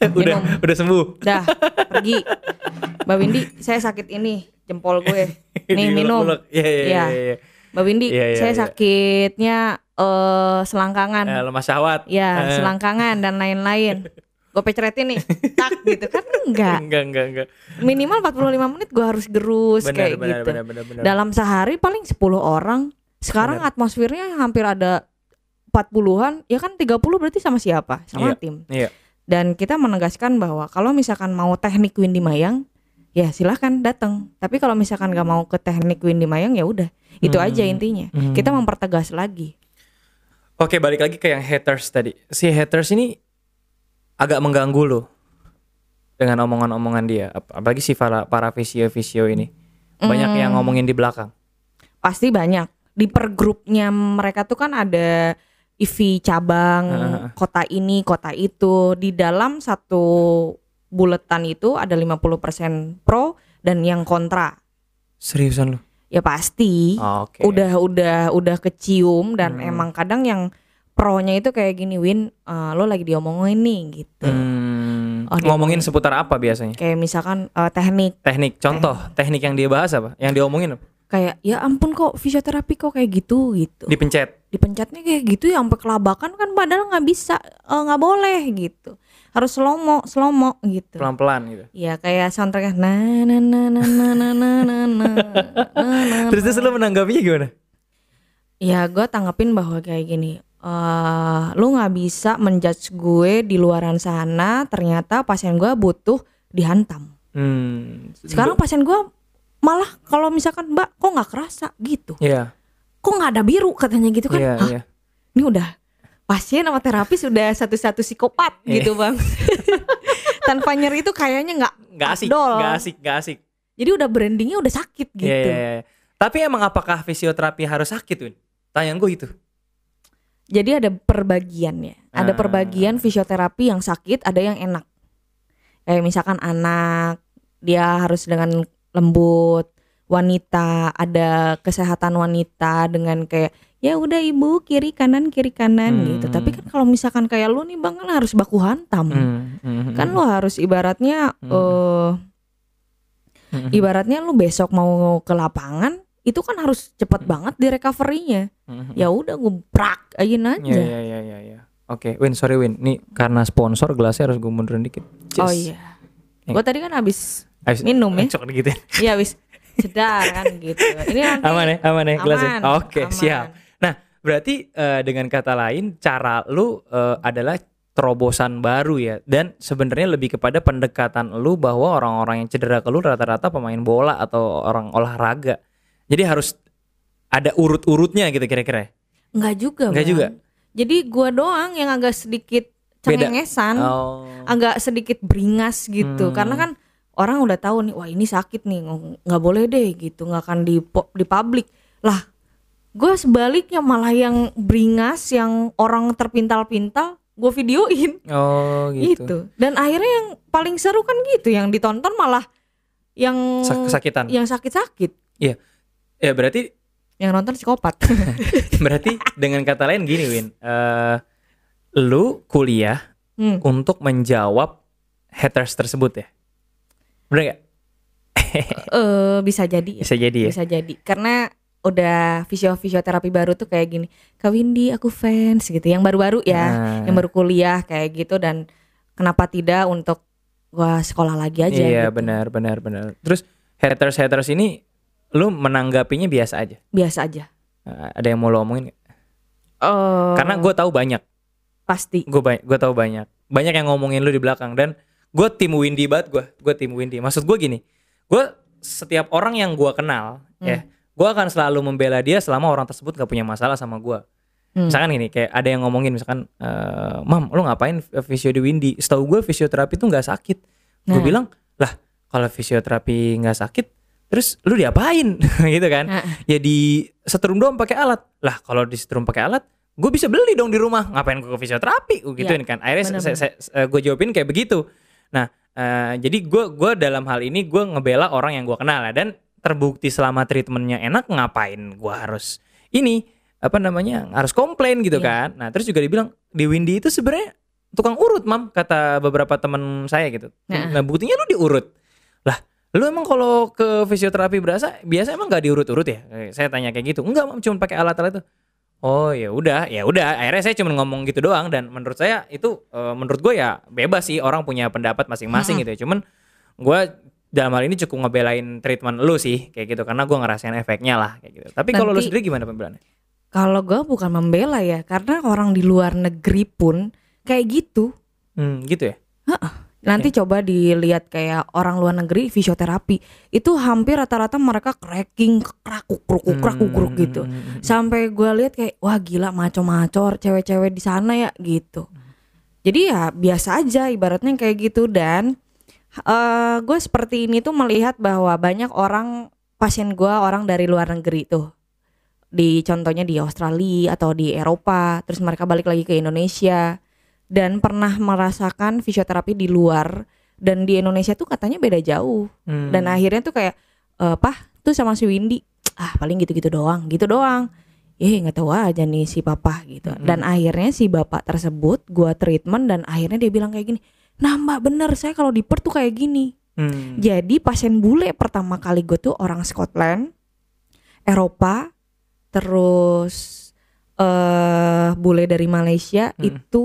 B: udah,
A: Minum.
B: udah sembuh. *laughs*
A: dah pergi Mbak Windy saya sakit ini jempol gue nih minum
B: Diulek-ulek. Iya, iya,
A: Iya.
B: iya, iya.
A: Mbak Windy
B: Iya, iya,
A: saya
B: iya.
A: sakitnya eh selangkangan
B: Eh, lemah syahwat.
A: ya
B: Eh.
A: selangkangan dan lain-lain gue peceretin nih tak gitu kan enggak
B: Enggak, enggak, enggak.
A: minimal 45 menit gue harus gerus kayak
B: Benar, benar,
A: gitu
B: benar, benar, benar.
A: dalam sehari paling 10 orang sekarang atmosfernya hampir ada 40-an ya kan 30 berarti sama siapa sama
B: Iya,
A: tim
B: iya.
A: dan kita menegaskan bahwa kalau misalkan mau teknik Windy Mayang ya silahkan datang tapi kalau misalkan nggak mau ke teknik Windy Mayang ya udah itu
B: Hmm.
A: aja intinya
B: Hmm.
A: kita mempertegas lagi
B: Oke balik lagi ke yang haters tadi Si haters ini agak mengganggu lo Dengan omongan-omongan dia Ap- Apalagi si para, para visio-visio ini Banyak yang
A: Hmm.
B: ngomongin di belakang
A: pasti banyak di per grupnya mereka tuh kan ada IV cabang
B: Heeh.
A: kota ini kota itu di dalam satu buletan itu ada 50% pro dan yang kontra
B: Seriusan lo?
A: ya pasti
B: Oke
A: udah udah udah kecium dan
B: Hmm.
A: emang kadang yang pronya itu kayak gini Win eh, lo lagi diomongin nih gitu
B: Hmm,
A: Oh, dia
B: Ngomongin seputar apa biasanya?
A: kayak misalkan eh, teknik
B: Teknik, contoh
A: Eh.
B: teknik yang dia bahas apa? Yang diomongin apa?
A: kayak ya ampun kok fisioterapi kok kayak gitu gitu
B: Dipencet
A: dipencetnya kayak gitu ya sampai kelabakan kan padahal nggak bisa eh, nggak boleh gitu harus slomo slomo gitu
B: pelan-pelan gitu
A: ya kayak soundtracknya na na na na na na na na na na, na.
B: Terus terus lo menanggapinya gimana?
A: ya gue tanggapin bahwa kayak gini eh lu nggak bisa menjudge gue di luaran sana ternyata pasien gue butuh dihantam
B: Hmm,
A: sekarang pasien gue malah kalau misalkan mbak kok nggak kerasa gitu
B: Iya,
A: kok nggak ada biru katanya gitu kan
B: iya,
A: Hah,
B: iya
A: ini udah pasien sama terapis sudah satu-satu psikopat
B: Iya.
A: gitu
B: *laughs*
A: bang tanpa nyeri itu kayaknya nggak
B: Gak asik,
A: afdol.
B: gak asik, gak asik
A: jadi udah brandingnya udah sakit
B: Iya,
A: gitu
B: iya, iya. Tapi emang apakah fisioterapi harus sakit, Win? gitu. Tanyaan gue itu.
A: jadi ada perbagiannya ada
B: Ah.
A: perbagian fisioterapi yang sakit ada yang enak kayak misalkan anak dia harus dengan lembut wanita ada kesehatan wanita dengan kayak ya udah ibu kiri kanan kiri kanan
B: Hmm.
A: gitu tapi kan kalau misalkan kayak lu nih bang kan harus baku hantam kan lo harus ibaratnya
B: Hmm.
A: eh ibaratnya lu besok mau ke lapangan itu kan harus cepet
B: Hmm.
A: banget di recovery-nya ya udah gue prak aja
B: ya
A: aja
B: ya ya ya ya. Oke, Win, sorry Win. Nih karena sponsor gelasnya harus gue mundurin dikit.
A: oh
B: Cheers.
A: iya gue tadi kan habis
B: Abis-
A: minum ya.
B: Encok dikit ya.
A: ya habis sedar kan gitu
B: *laughs*
A: ini nanti
B: Aman ya, aman ya gelasnya.
A: aman,
B: Oke,
A: aman.
B: siap. Nah, Berarti eh, dengan kata lain cara lu eh, adalah terobosan baru ya dan sebenarnya lebih kepada pendekatan lu bahwa orang-orang yang cedera ke lu rata-rata pemain bola atau orang olahraga. Jadi harus ada urut-urutnya gitu kira-kira. ya?
A: nggak juga
B: Nggak
A: Bang.
B: juga?
A: jadi gue doang yang agak sedikit
B: Beda.
A: cengengesan
B: Oh.
A: agak sedikit beringas gitu
B: Hmm.
A: karena kan orang udah tahu nih wah ini sakit nih ng- nggak boleh deh gitu nggak akan di po- di publik lah gue sebaliknya malah yang beringas yang orang terpintal-pintal gue videoin
B: Oh
A: gitu.
B: gitu.
A: dan akhirnya yang paling seru kan gitu yang ditonton malah yang
B: Sak- Kesakitan.
A: yang sakit-sakit
B: Ya berarti
A: yang nonton psikopat
B: *laughs* berarti dengan kata lain gini Win, Eh lu kuliah
A: Hmm.
B: untuk menjawab haters tersebut ya. Bener gak?
A: Eh, bisa jadi ya.
B: Bisa jadi ya.
A: bisa jadi karena udah fisio fisioterapi baru tuh kayak gini Kak Windy aku fans gitu yang baru-baru ya
B: Nah,
A: yang baru kuliah kayak gitu dan kenapa tidak untuk gua sekolah lagi aja
B: Iya
A: gitu.
B: benar benar benar. Terus haters haters ini lu menanggapinya biasa aja.
A: biasa aja
B: Eh, Ada yang mau lo omongin? nggak?
A: Eh,
B: Karena gue tahu banyak,
A: pasti
B: gue gue tahu banyak, banyak yang ngomongin lu di belakang dan gue tim Windy banget gue, gue tim Windy. Maksud gue gini, gue setiap orang yang gue kenal
A: Hmm.
B: ya, gue akan selalu membela dia selama orang tersebut gak punya masalah sama gue.
A: Hmm.
B: Misalkan ini kayak ada yang ngomongin misalkan, eh, mam, lu ngapain fisio di Windy? Setahu gue fisioterapi tuh nggak sakit. Gue
A: Nah.
B: bilang, lah kalau fisioterapi nggak sakit, terus lu diapain? *laughs* gitu kan?
A: Nah.
B: Ya di setrum doang pakai alat. Lah kalau di setrum pakai alat, gue bisa beli dong di rumah. Ngapain gue ke fisioterapi? Gue gituin kan. Akhirnya
A: benar-benar.
B: saya- saya- saya- gue jawabin kayak begitu. Nah, eh, jadi gue gua dalam hal ini gue ngebela orang yang gue kenal ya. dan terbukti selama treatmentnya enak ngapain gue harus ini apa namanya harus komplain gitu
A: Iya.
B: kan. Nah terus juga dibilang di Windy itu sebenarnya tukang urut mam kata beberapa teman saya gitu.
A: Nah.
B: Nah buktinya lu diurut. Lah lu emang kalau ke fisioterapi berasa biasa emang nggak diurut-urut ya? Eh, Saya tanya kayak gitu. Enggak mam cuma pakai alat-alat itu. Oh ya udah, ya udah. Akhirnya saya cuma ngomong gitu doang dan menurut saya itu eh, menurut gue ya bebas sih orang punya pendapat masing-masing gitu ya. Cuman gue dalam hal ini cukup ngebelain treatment lu sih kayak gitu karena gue ngerasain efeknya lah kayak gitu. Tapi kalau lu
A: Nanti-
B: sendiri gimana pembelaannya?
A: kalau gue bukan membela ya karena orang di luar negeri pun kayak gitu
B: Hmm, gitu ya.
A: nanti coba dilihat kayak orang luar negeri fisioterapi itu hampir rata-rata mereka cracking krakuk krukuk krakuk
B: Hmm.
A: kruk gitu sampai gue lihat kayak wah gila maco-maco cewek-cewek di sana ya gitu jadi ya biasa aja ibaratnya kayak gitu dan eh gue seperti ini tuh melihat bahwa banyak orang pasien gue orang dari luar negeri tuh di contohnya di Australia atau di Eropa terus mereka balik lagi ke Indonesia dan pernah merasakan fisioterapi di luar dan di Indonesia tuh katanya beda jauh
B: Hmm.
A: dan akhirnya tuh kayak eh pah tuh sama si Windy ah paling gitu-gitu doang gitu doang eh nggak tahu aja nih si papa gitu
B: Mm-mm.
A: dan akhirnya si bapak tersebut gua treatment dan akhirnya dia bilang kayak gini nah mbak bener saya kalau di Perth tuh kayak gini
B: Hmm.
A: jadi pasien bule pertama kali gue tuh orang Scotland Eropa terus eh bule dari Malaysia
B: Mm.
A: itu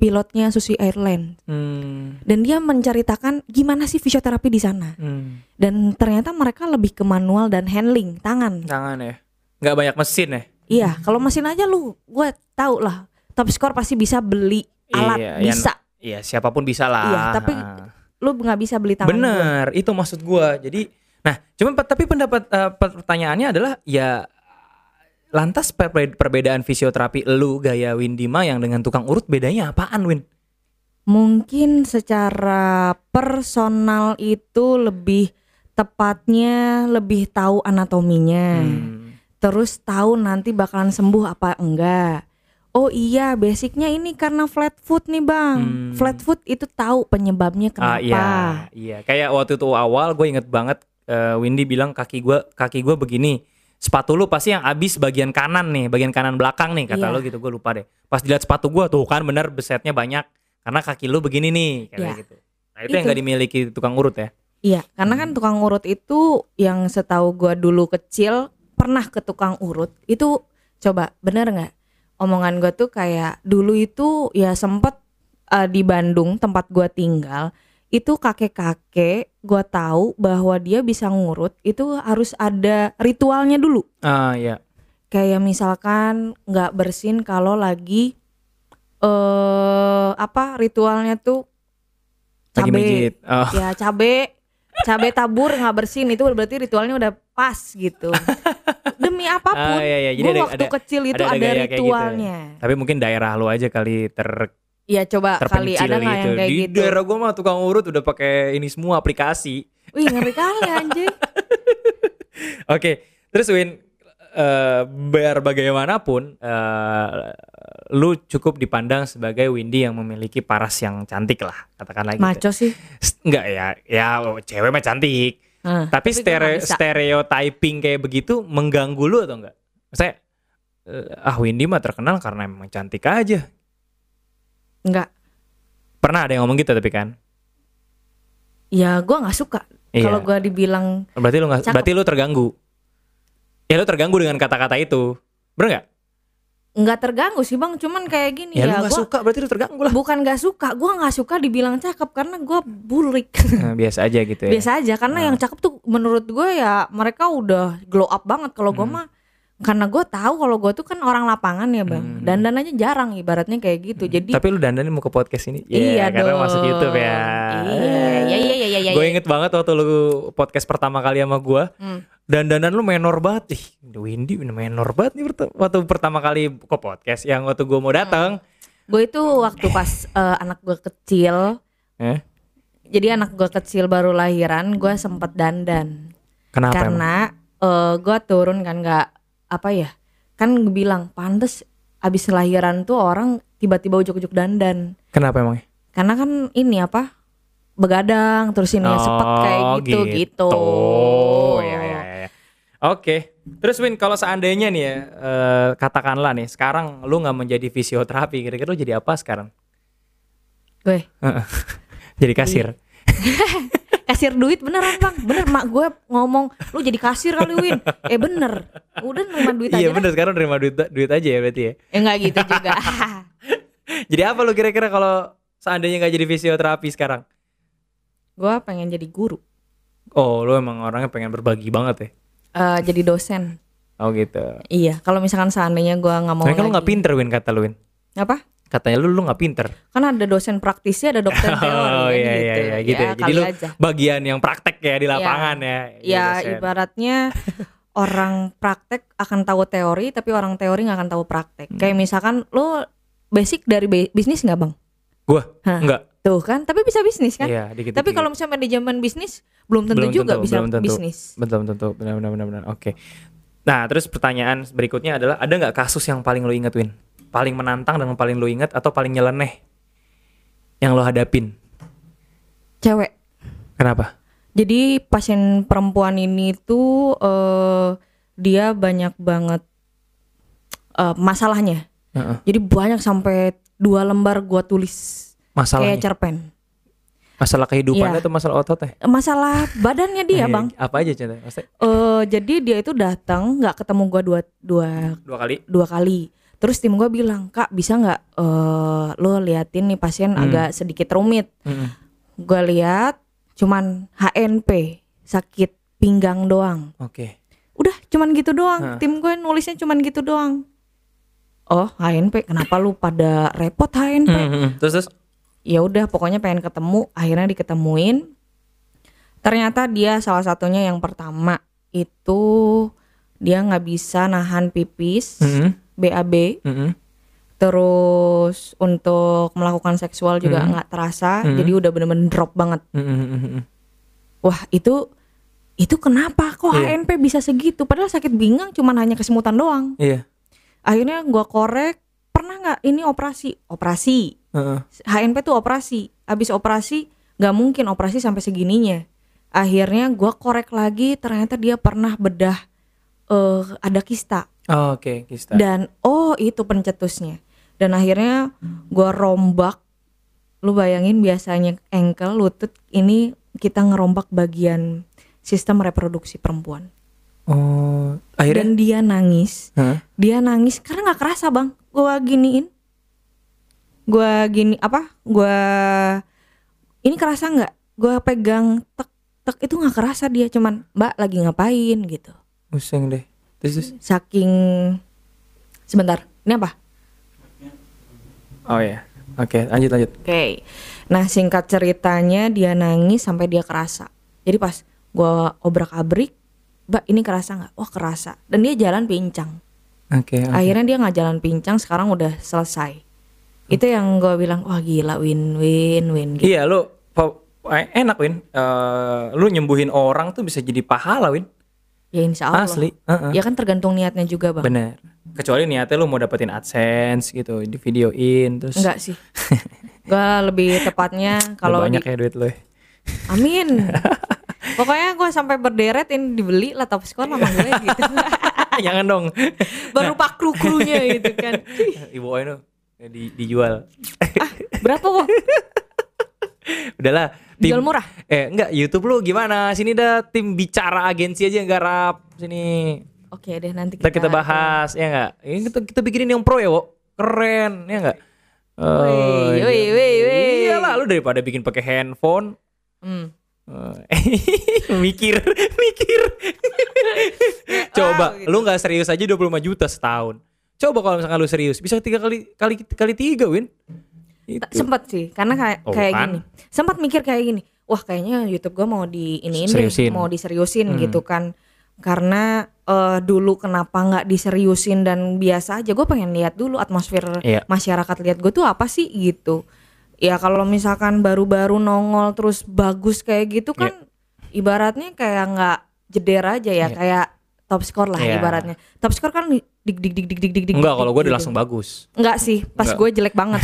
A: pilotnya Susi Airlines
B: Hmm.
A: dan dia menceritakan gimana sih fisioterapi di sana
B: Hmm.
A: dan ternyata mereka lebih ke manual dan handling tangan
B: Tangan ya. Nggak banyak mesin ya.
A: iya kalau mesin aja lu gue tau lah top score pasti bisa beli alat
B: Iya, yang-
A: bisa
B: Iya, siapapun bisa lah.
A: Iya, tapi
B: Ah.
A: lu nggak bisa beli tangan gua.
B: Bener, itu maksud gua. Jadi, nah, cuman pe- tapi pendapat eh, pertanyaannya adalah ya lantas per- perbedaan fisioterapi lu gaya Windima yang dengan tukang urut bedanya apaan Win?
A: mungkin secara personal itu lebih tepatnya lebih tahu anatominya
B: Hmm.
A: terus tahu nanti bakalan sembuh apa enggak Oh iya, basicnya ini karena flat foot nih bang.
B: Hmm.
A: Flat foot itu tahu penyebabnya kenapa.
B: Ah, iya, iya. Kayak waktu itu awal gue inget banget eh, Windy bilang kaki gua kaki gua begini. Sepatu lu pasti yang abis bagian kanan nih, bagian kanan belakang nih
A: Iya.
B: kata lu gitu. Gue lupa deh. Pas dilihat sepatu gua tuh kan bener besetnya banyak karena kaki lu begini nih kayak
A: Iya.
B: gitu. Nah, itu, yang
A: Itu.
B: gak dimiliki tukang urut ya.
A: Iya, karena kan tukang urut itu yang setahu gua dulu kecil pernah ke tukang urut itu coba bener nggak omongan gua tuh kayak dulu itu ya sempet eh, di Bandung tempat gua tinggal itu kakek-kakek gua tahu bahwa dia bisa ngurut itu harus ada ritualnya dulu
B: Ah, iya.
A: kayak misalkan nggak bersin kalau lagi eh apa ritualnya tuh
B: Lagi
A: cabe.
B: mijit. Oh.
A: ya cabe cabe tabur nggak bersin itu berarti ritualnya udah pas gitu demi apapun
B: Ah, iya, iya. Jadi
A: gua
B: ada-
A: waktu
B: ada-
A: kecil itu
B: ada-
A: ada,
B: ada gaya kayak gitu.
A: ritualnya
B: Tapi mungkin daerah lu aja kali ter
A: ya coba kali
B: terpencil
A: ada nggak
B: gitu.
A: yang kayak
B: Di
A: gitu
B: daerah gua mah tukang urut udah pakai ini semua aplikasi.
A: wih ngeri kali anjing
B: Oke, terus Win eh, biar bagaimanapun eh, lu cukup dipandang sebagai Windy yang memiliki paras yang cantik lah katakanlah gitu.
A: maco sih
B: S- Enggak ya, ya oh, cewek mah cantik.
A: Heeh.
B: Tapi,
A: Ah, gua
B: stere-
A: nggak bisa.
B: stereotyping kayak begitu mengganggu lu atau enggak? Saya ah Windy mah terkenal karena emang cantik aja.
A: nggak
B: Pernah ada yang ngomong gitu tapi kan?
A: ya gua nggak suka
B: Iya.
A: kalau gua dibilang
B: Berarti lu nggak
A: Cakep.
B: berarti lu terganggu. Ya lu terganggu dengan kata-kata itu. Bener nggak?
A: nggak terganggu sih bang cuman kayak gini
B: Ya,
A: ya,
B: lu gak
A: gua
B: suka berarti lu terganggu
A: *laughs*
B: lah.
A: bukan nggak suka gua nggak suka dibilang cakep karena gua burik
B: Nah, biasa aja gitu ya.
A: biasa aja karena yang cakep tuh menurut gue ya mereka udah glow up banget kalau
B: Hmm.
A: gue mah karena gue tahu kalau gue tuh kan orang lapangan ya
B: Hmm.
A: bang dan dandan aja jarang ibaratnya kayak gitu jadi
B: Tapi lu dandanin mau ke podcast ini?
A: Iya
B: Hmm. Ya, karena
A: dong.
B: masuk YouTube ya.
A: Iya, iya, iya, iya, iya,
B: Gue
A: iya.
B: inget banget waktu lu podcast pertama kali sama gue.
A: Hmm.
B: Dandanan lu menor banget. Ih, Windy menor banget nih perta- waktu pertama kali ke podcast. Yang waktu gue mau datang.
A: gue itu waktu pas eh, anak gue kecil Hmm.
B: Eh,
A: jadi anak gue kecil baru lahiran gue sempet dandan
B: kenapa? emang?
A: karena eh, gue turun kan nggak apa ya kan gue bilang pantes abis lahiran tuh orang tiba-tiba ujuk-ujuk dandan
B: Kenapa emang?
A: karena kan ini apa begadang terus ini ya, sepet
B: Oh,
A: kayak gitu gitu,
B: Ya, ya, ya. Oke, terus Win kalau seandainya nih ya, eh, katakanlah nih sekarang lu nggak menjadi fisioterapi, kira-kira lu jadi apa sekarang?
A: gue
B: Heeh. jadi kasir.
A: Iya. kasir duit beneran bang bener mak gue ngomong lu jadi kasir kali Win eh bener udah nerima duit aja
B: Iya
A: dah.
B: bener sekarang nerima duit duit aja ya berarti ya.
A: ya nggak gitu
B: *laughs*
A: juga
B: Jadi apa lu kira-kira kalau seandainya nggak jadi fisioterapi sekarang?
A: gue pengen jadi guru
B: Oh, lu emang orangnya pengen berbagi banget ya?
A: eh jadi dosen
B: Oh gitu.
A: iya kalau misalkan seandainya gue nggak mau
B: Tapi kalau nggak
A: lagi-
B: pinter Win kata lu Win.
A: apa
B: Katanya lu lu nggak pinter.
A: kan ada dosen praktisi ada dokter *laughs* teori
B: *laughs* Oh
A: kan
B: iya iya
A: gitu
B: iya gitu. ya. Jadi
A: kali
B: lu
A: aja Iya.
B: bagian yang praktek ya di lapangan ya. Jadi
A: ya
B: dosen. *laughs*
A: ibaratnya orang praktek akan tahu teori tapi orang teori nggak akan tahu praktek
B: Hmm.
A: kayak misalkan lo basic dari bi- bisnis nggak bang
B: Gua
A: Hah.
B: enggak.
A: tuh kan tapi bisa bisnis kan
B: Iya, dikit.
A: tapi kalau misalnya manajemen bisnis belum tentu
B: Belum
A: juga
B: tentu,
A: bisa
B: belum tentu.
A: bisnis
B: betul betul, betul. benar benar benar benar. Oke. Nah, terus pertanyaan berikutnya adalah ada nggak kasus yang paling lo inget Win? Paling menantang dan paling lo inget atau paling nyeleneh yang lo hadapin?
A: cewek
B: Kenapa?
A: jadi pasien perempuan ini tuh eh, dia banyak banget eh, masalahnya
B: Heeh.
A: jadi banyak sampai dua lembar gua tulis
B: Masalahnya.
A: kayak cerpen
B: masalah kehidupan
A: Iya.
B: atau masalah ototnya?
A: masalah badannya
B: Iya,
A: dia bang
B: Apa aja contohnya? Maksudnya
A: Eh jadi dia itu datang nggak ketemu gua dua dua
B: dua kali.
A: dua kali. Terus tim gua bilang kak bisa nggak eh lo liatin nih pasien
B: Hmm.
A: agak sedikit rumit.
B: Mm-mm.
A: Gua lihat cuman HNP sakit pinggang doang.
B: Oke.
A: Udah cuman gitu doang.
B: Hah.
A: Tim gue nulisnya cuman gitu doang. Oh HNP kenapa lu pada repot HNP?
B: Mm-mm. Terus terus
A: ya udah pokoknya pengen ketemu akhirnya diketemuin ternyata dia salah satunya yang pertama itu dia nggak bisa nahan pipis
B: Mm-mm.
A: BAB
B: Mm-mm.
A: terus untuk melakukan seksual juga nggak terasa
B: Hmm.
A: jadi udah bener-bener drop banget
B: Mm-mm.
A: wah itu itu kenapa kok
B: Iya.
A: HNP bisa segitu padahal sakit bingang cuman hanya kesemutan doang
B: Iya.
A: akhirnya gua korek pernah nggak ini operasi operasi
B: Heeh.
A: HNP tuh operasi abis operasi nggak mungkin operasi sampai segininya akhirnya gua korek lagi ternyata dia pernah bedah eh ada kista
B: Oh, Oke, Kista.
A: dan oh itu pencetusnya dan akhirnya gua rombak lu bayangin biasanya engkel lutut ini kita ngerombak bagian sistem reproduksi perempuan
B: Oh, akhirnya
A: dan dia nangis
B: Heeh.
A: dia nangis karena nggak kerasa bang gua giniin gua gini apa gua ini kerasa nggak gua pegang tek tek itu nggak kerasa dia cuman mbak lagi ngapain gitu
B: pusing deh. Terus terus.
A: saking sebentar ini apa
B: Oh iya. Oke, lanjut lanjut.
A: oke nah singkat ceritanya dia nangis sampai dia kerasa jadi pas gua obrak abrik mbak ini kerasa nggak wah kerasa dan dia jalan pincang
B: Oke. oke.
A: akhirnya dia nggak jalan pincang sekarang udah selesai itu yang gue bilang wah gila win win win gitu.
B: Iya lu pa- eh, enak Win. Eh, lu nyembuhin orang tuh bisa jadi pahala Win.
A: ya insya Allah
B: Iya. Asli. Heeh.
A: ya kan tergantung niatnya juga bang
B: Bener. Kecuali niatnya lu mau dapetin AdSense gitu, di videoin terus.
A: enggak
B: *laughs*
A: sih gue lebih tepatnya
B: Kalau
A: kalau
B: banyak
A: di-
B: ya duit lu. ya. *laughs*
A: amin pokoknya gue sampai berderet ini dibeli lah top score sama gue
B: *laughs*
A: gitu
B: Jangan dong.
A: baru pak kru krunya gitu
B: *laughs*
A: kan Ih,
B: Ibu Oin tuh eh, di, dijual.
A: berapa wah
B: Udahlah. tim-
A: jual murah
B: Eh enggak YouTube lu gimana? Sini dah tim bicara agensi aja enggak rap sini.
A: Oke deh nanti
B: Ntar kita bahas ya nggak? Ini kita, kita bikinin yang pro ya, Wo. Keren ya nggak? Oh,
A: Woi, woi, woi, woi.
B: Iyalah lu daripada bikin pakai handphone.
A: Hmm.
B: Eh, *laughs* mikir,
A: *laughs*
B: mikir. Coba,
A: Wow,
B: lu nggak serius aja 25 juta setahun. Coba kalau misalkan lu serius, bisa tiga kali kali kali tiga, Win. Itu.
A: Sempat sih, karena kayak
B: Oh,
A: kayak
B: kan?
A: gini. Sempat mikir kayak gini. Wah, kayaknya YouTube gua mau di ini
B: Seriusin. Hmm.
A: mau diseriusin gitu kan. Karena eh, dulu kenapa nggak diseriusin dan biasa aja gue pengen lihat dulu atmosfer
B: Iya.
A: masyarakat lihat gue tuh apa sih gitu. Ya kalau misalkan baru-baru nongol terus bagus kayak gitu
B: Iya.
A: kan ibaratnya kayak nggak jeder aja ya,
B: Iya.
A: kayak top score lah
B: Iya.
A: ibaratnya. Top score kan dik dik dik dik dik dik dik.
B: Enggak, kalau gue
A: gitu.
B: udah langsung
A: *laughs*
B: bagus.
A: Enggak sih, pas
B: Enggak.
A: gue jelek banget.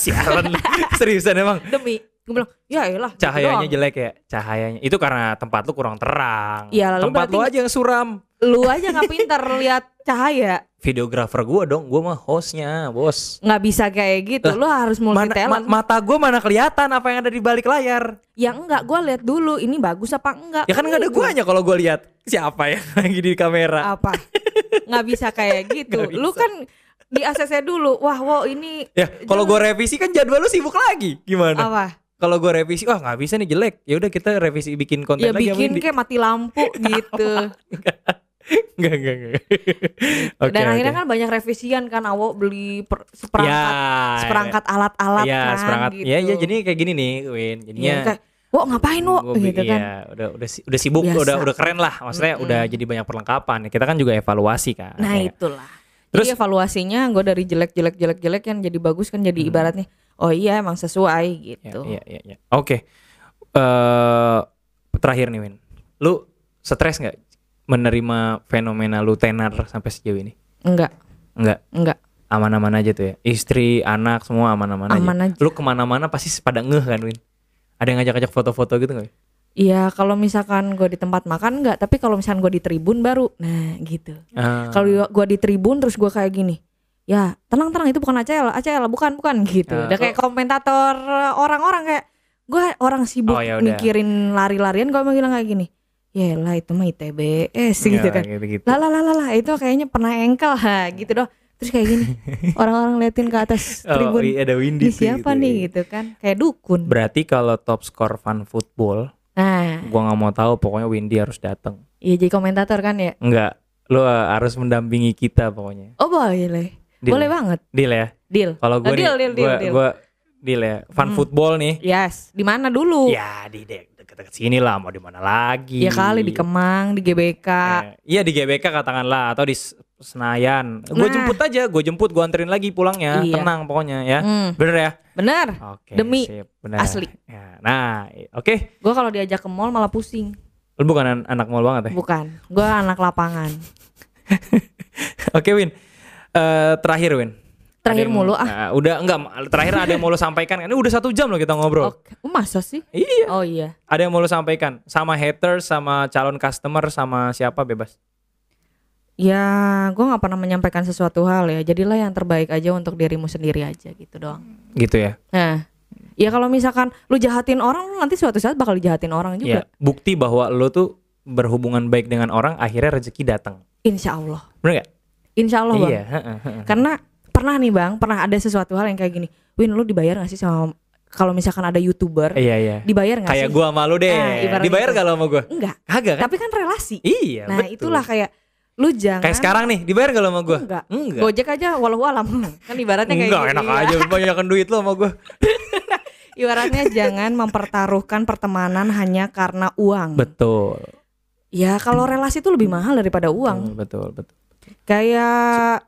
B: Siaran lu. *laughs* seriusan emang.
A: demi gue bilang ya elah gitu
B: Cahayanya
A: doang."
B: jelek ya, cahayanya. Itu karena tempat lu kurang terang.
A: Iya, lalu
B: tempat lu
A: berarti-
B: aja yang suram.
A: lu aja nggak pinter lihat cahaya
B: Videografer gua dong, gua mah hostnya, bos.
A: nggak bisa kayak gitu lu harus multi
B: Mana, ma-
A: talent
B: mata gua mana kelihatan apa yang ada di balik layar.
A: ya enggak gue lihat dulu ini bagus apa enggak
B: Ya kan nggak ada
A: Ini
B: guanya kalau gua lihat siapa yang *laughs* lagi di kamera.
A: apa nggak bisa kayak gitu
B: *laughs* Nggak
A: lu
B: bisa.
A: kan di ACC dulu wah wow ini
B: Ya, kalau gua revisi kan jadwal lu sibuk lagi. Gimana?
A: apa
B: Kalau gua revisi, wah nggak bisa nih jelek. Ya udah kita revisi bikin konten
A: ya
B: lagi sama
A: bikin
B: Indi. *laughs*
A: kayak mati lampu gitu
B: Nggak, nggak, nggak. Oke,
A: dan akhirnya
B: oke.
A: kan banyak revisian kan awo beli per-
B: Ya,
A: seperangkat seperangkat alat-alat
B: ya,
A: kan
B: seperangkat.
A: gitu
B: Ya, ya, jadi kayak gini nih, Win.
A: Iya,
B: Jadinya
A: kayak, wo ngapain wo
B: Gua bi-
A: gitu kan
B: iya, udah udah si- udah sibuk,
A: Biasa.
B: udah udah keren lah. Maksudnya
A: Mm-mm.
B: udah jadi banyak perlengkapan. Kita kan juga evaluasi kan.
A: Nah
B: ya.
A: itulah.
B: Terus-
A: jadi evaluasinya gue dari jelek jelek jelek jelek yang jadi bagus kan jadi ibaratnya oh iya emang sesuai
B: Ya,
A: gitu.
B: Hmm. Iya, iya, iya. Oke. Eh, terakhir nih, Win. Lu stres nggak menerima fenomena lu tenar sampai sejauh ini?
A: Enggak
B: Enggak,
A: enggak
B: aman-aman aja tuh ya. Istri, anak semua aman-aman aja.
A: Aman aja.
B: Lu kemana-mana pasti pada ngeh kan, Win? Ada yang ngajak-ngajak foto-foto gitu nggak? Win?
A: Iya kalau misalkan gue di tempat makan enggak tapi kalau misalkan gue di tribun baru nah gitu.
B: Ah.
A: Kalau gue di tribun terus gue kayak gini ya tenang tenang itu bukan ACL ACL bukan bukan gitu.
B: Ya,
A: Udah kayak komentator orang-orang kayak gue orang sibuk
B: Oh, ya udah.
A: mikirin lari-larian gue bilang kayak gini ya lah itu mah ITBS gitu kan.
B: Nggak, Ah, iya, gitu-gitu.
A: lah lah lah lah lah, itu kayaknya pernah engkel ha gitu doh terus kayak
B: *laughs*
A: gini orang-orang liatin ke atas
B: Oh,
A: tribun
B: iya, ada
A: ini
B: Windy tuh
A: siapa
B: gitu,
A: nih
B: iya.
A: gitu kan kayak dukun
B: Berarti kalau top score fan football,
A: nah
B: gua nggak mau tahu pokoknya Windy harus datang.
A: iya jadi komentator kan ya
B: Enggak, lu eh, harus mendampingi kita pokoknya.
A: oh boleh
B: Deal.
A: boleh banget
B: Deal ya.
A: deal
B: Kalau gua
A: Oh,
B: nih,
A: deal, deal, deal,
B: gua,
A: deal. Hmm.
B: gua deal ya. Fan football nih.
A: yes di mana dulu
B: Ya di de- deket-deket sini lah, mau di mana lagi?
A: Oh. ya kali di Kemang di GBK
B: Eh, Iya di GBK katakanlah atau di S- Senayan.
A: Nah.
B: Gue jemput aja, gue jemput, gue anterin lagi pulangnya.
A: Iya.
B: Tenang pokoknya ya.
A: Hmm,
B: Bener ya?
A: bener
B: Oke.
A: Demi
B: sip, bener.
A: asli.
B: Ya, nah, i- oke.
A: gue kalau diajak ke mall malah pusing
B: Lu bukan an- anak mall banget ya?
A: bukan gue anak lapangan
B: Oke Win, Eh, terakhir Win.
A: Terakhir
B: Ada yang-
A: mulu, ah.
B: eh, udah enggak, terakhir ada yang mau lo sampaikan kan? Ini udah satu jam loh kita ngobrol.
A: oke Oh, masa sih
B: Iya.
A: oh iya
B: Ada yang mau lo sampaikan? Sama haters, sama calon customer, sama siapa bebas?
A: ya gue nggak pernah menyampaikan sesuatu hal ya jadilah yang terbaik aja untuk dirimu sendiri aja gitu doang
B: Gitu ya.
A: Nah, ya kalau misalkan lu jahatin orang, lu nanti suatu saat bakal dijahatin orang
B: Ya,
A: juga.
B: bukti bahwa lo tuh berhubungan baik dengan orang akhirnya rezeki datang.
A: Insya Allah,
B: Bener gak?
A: insya Allah bang.
B: iya. heeh, heeh.
A: Karena pernah nih bang, pernah ada sesuatu hal yang kayak gini. Win, lu dibayar gak sih sama kalau misalkan ada youtuber
B: Iya iya.
A: dibayar gak sih?
B: Kayak gua sama lo deh.
A: Ah, ibarat
B: Dibayar
A: gitu.
B: gak lo sama gua?
A: Enggak.
B: Kagak kan?
A: Tapi kan relasi.
B: Iya.
A: nah
B: betul.
A: itulah kayak lu jangan.
B: Kayak sekarang nih, dibayar gak lo sama gua?
A: Enggak.
B: Enggak.
A: Gojek aja walau alam *laughs* kan ibaratnya kayak
B: Enggak,
A: gitu,
B: enak
A: iya.
B: aja banyakan duit lo sama gua.
A: Ibaratnya jangan mempertaruhkan pertemanan hanya karena uang.
B: Betul.
A: Ya kalau relasi itu lebih mahal daripada uang.
B: Betul, betul.
A: Kayak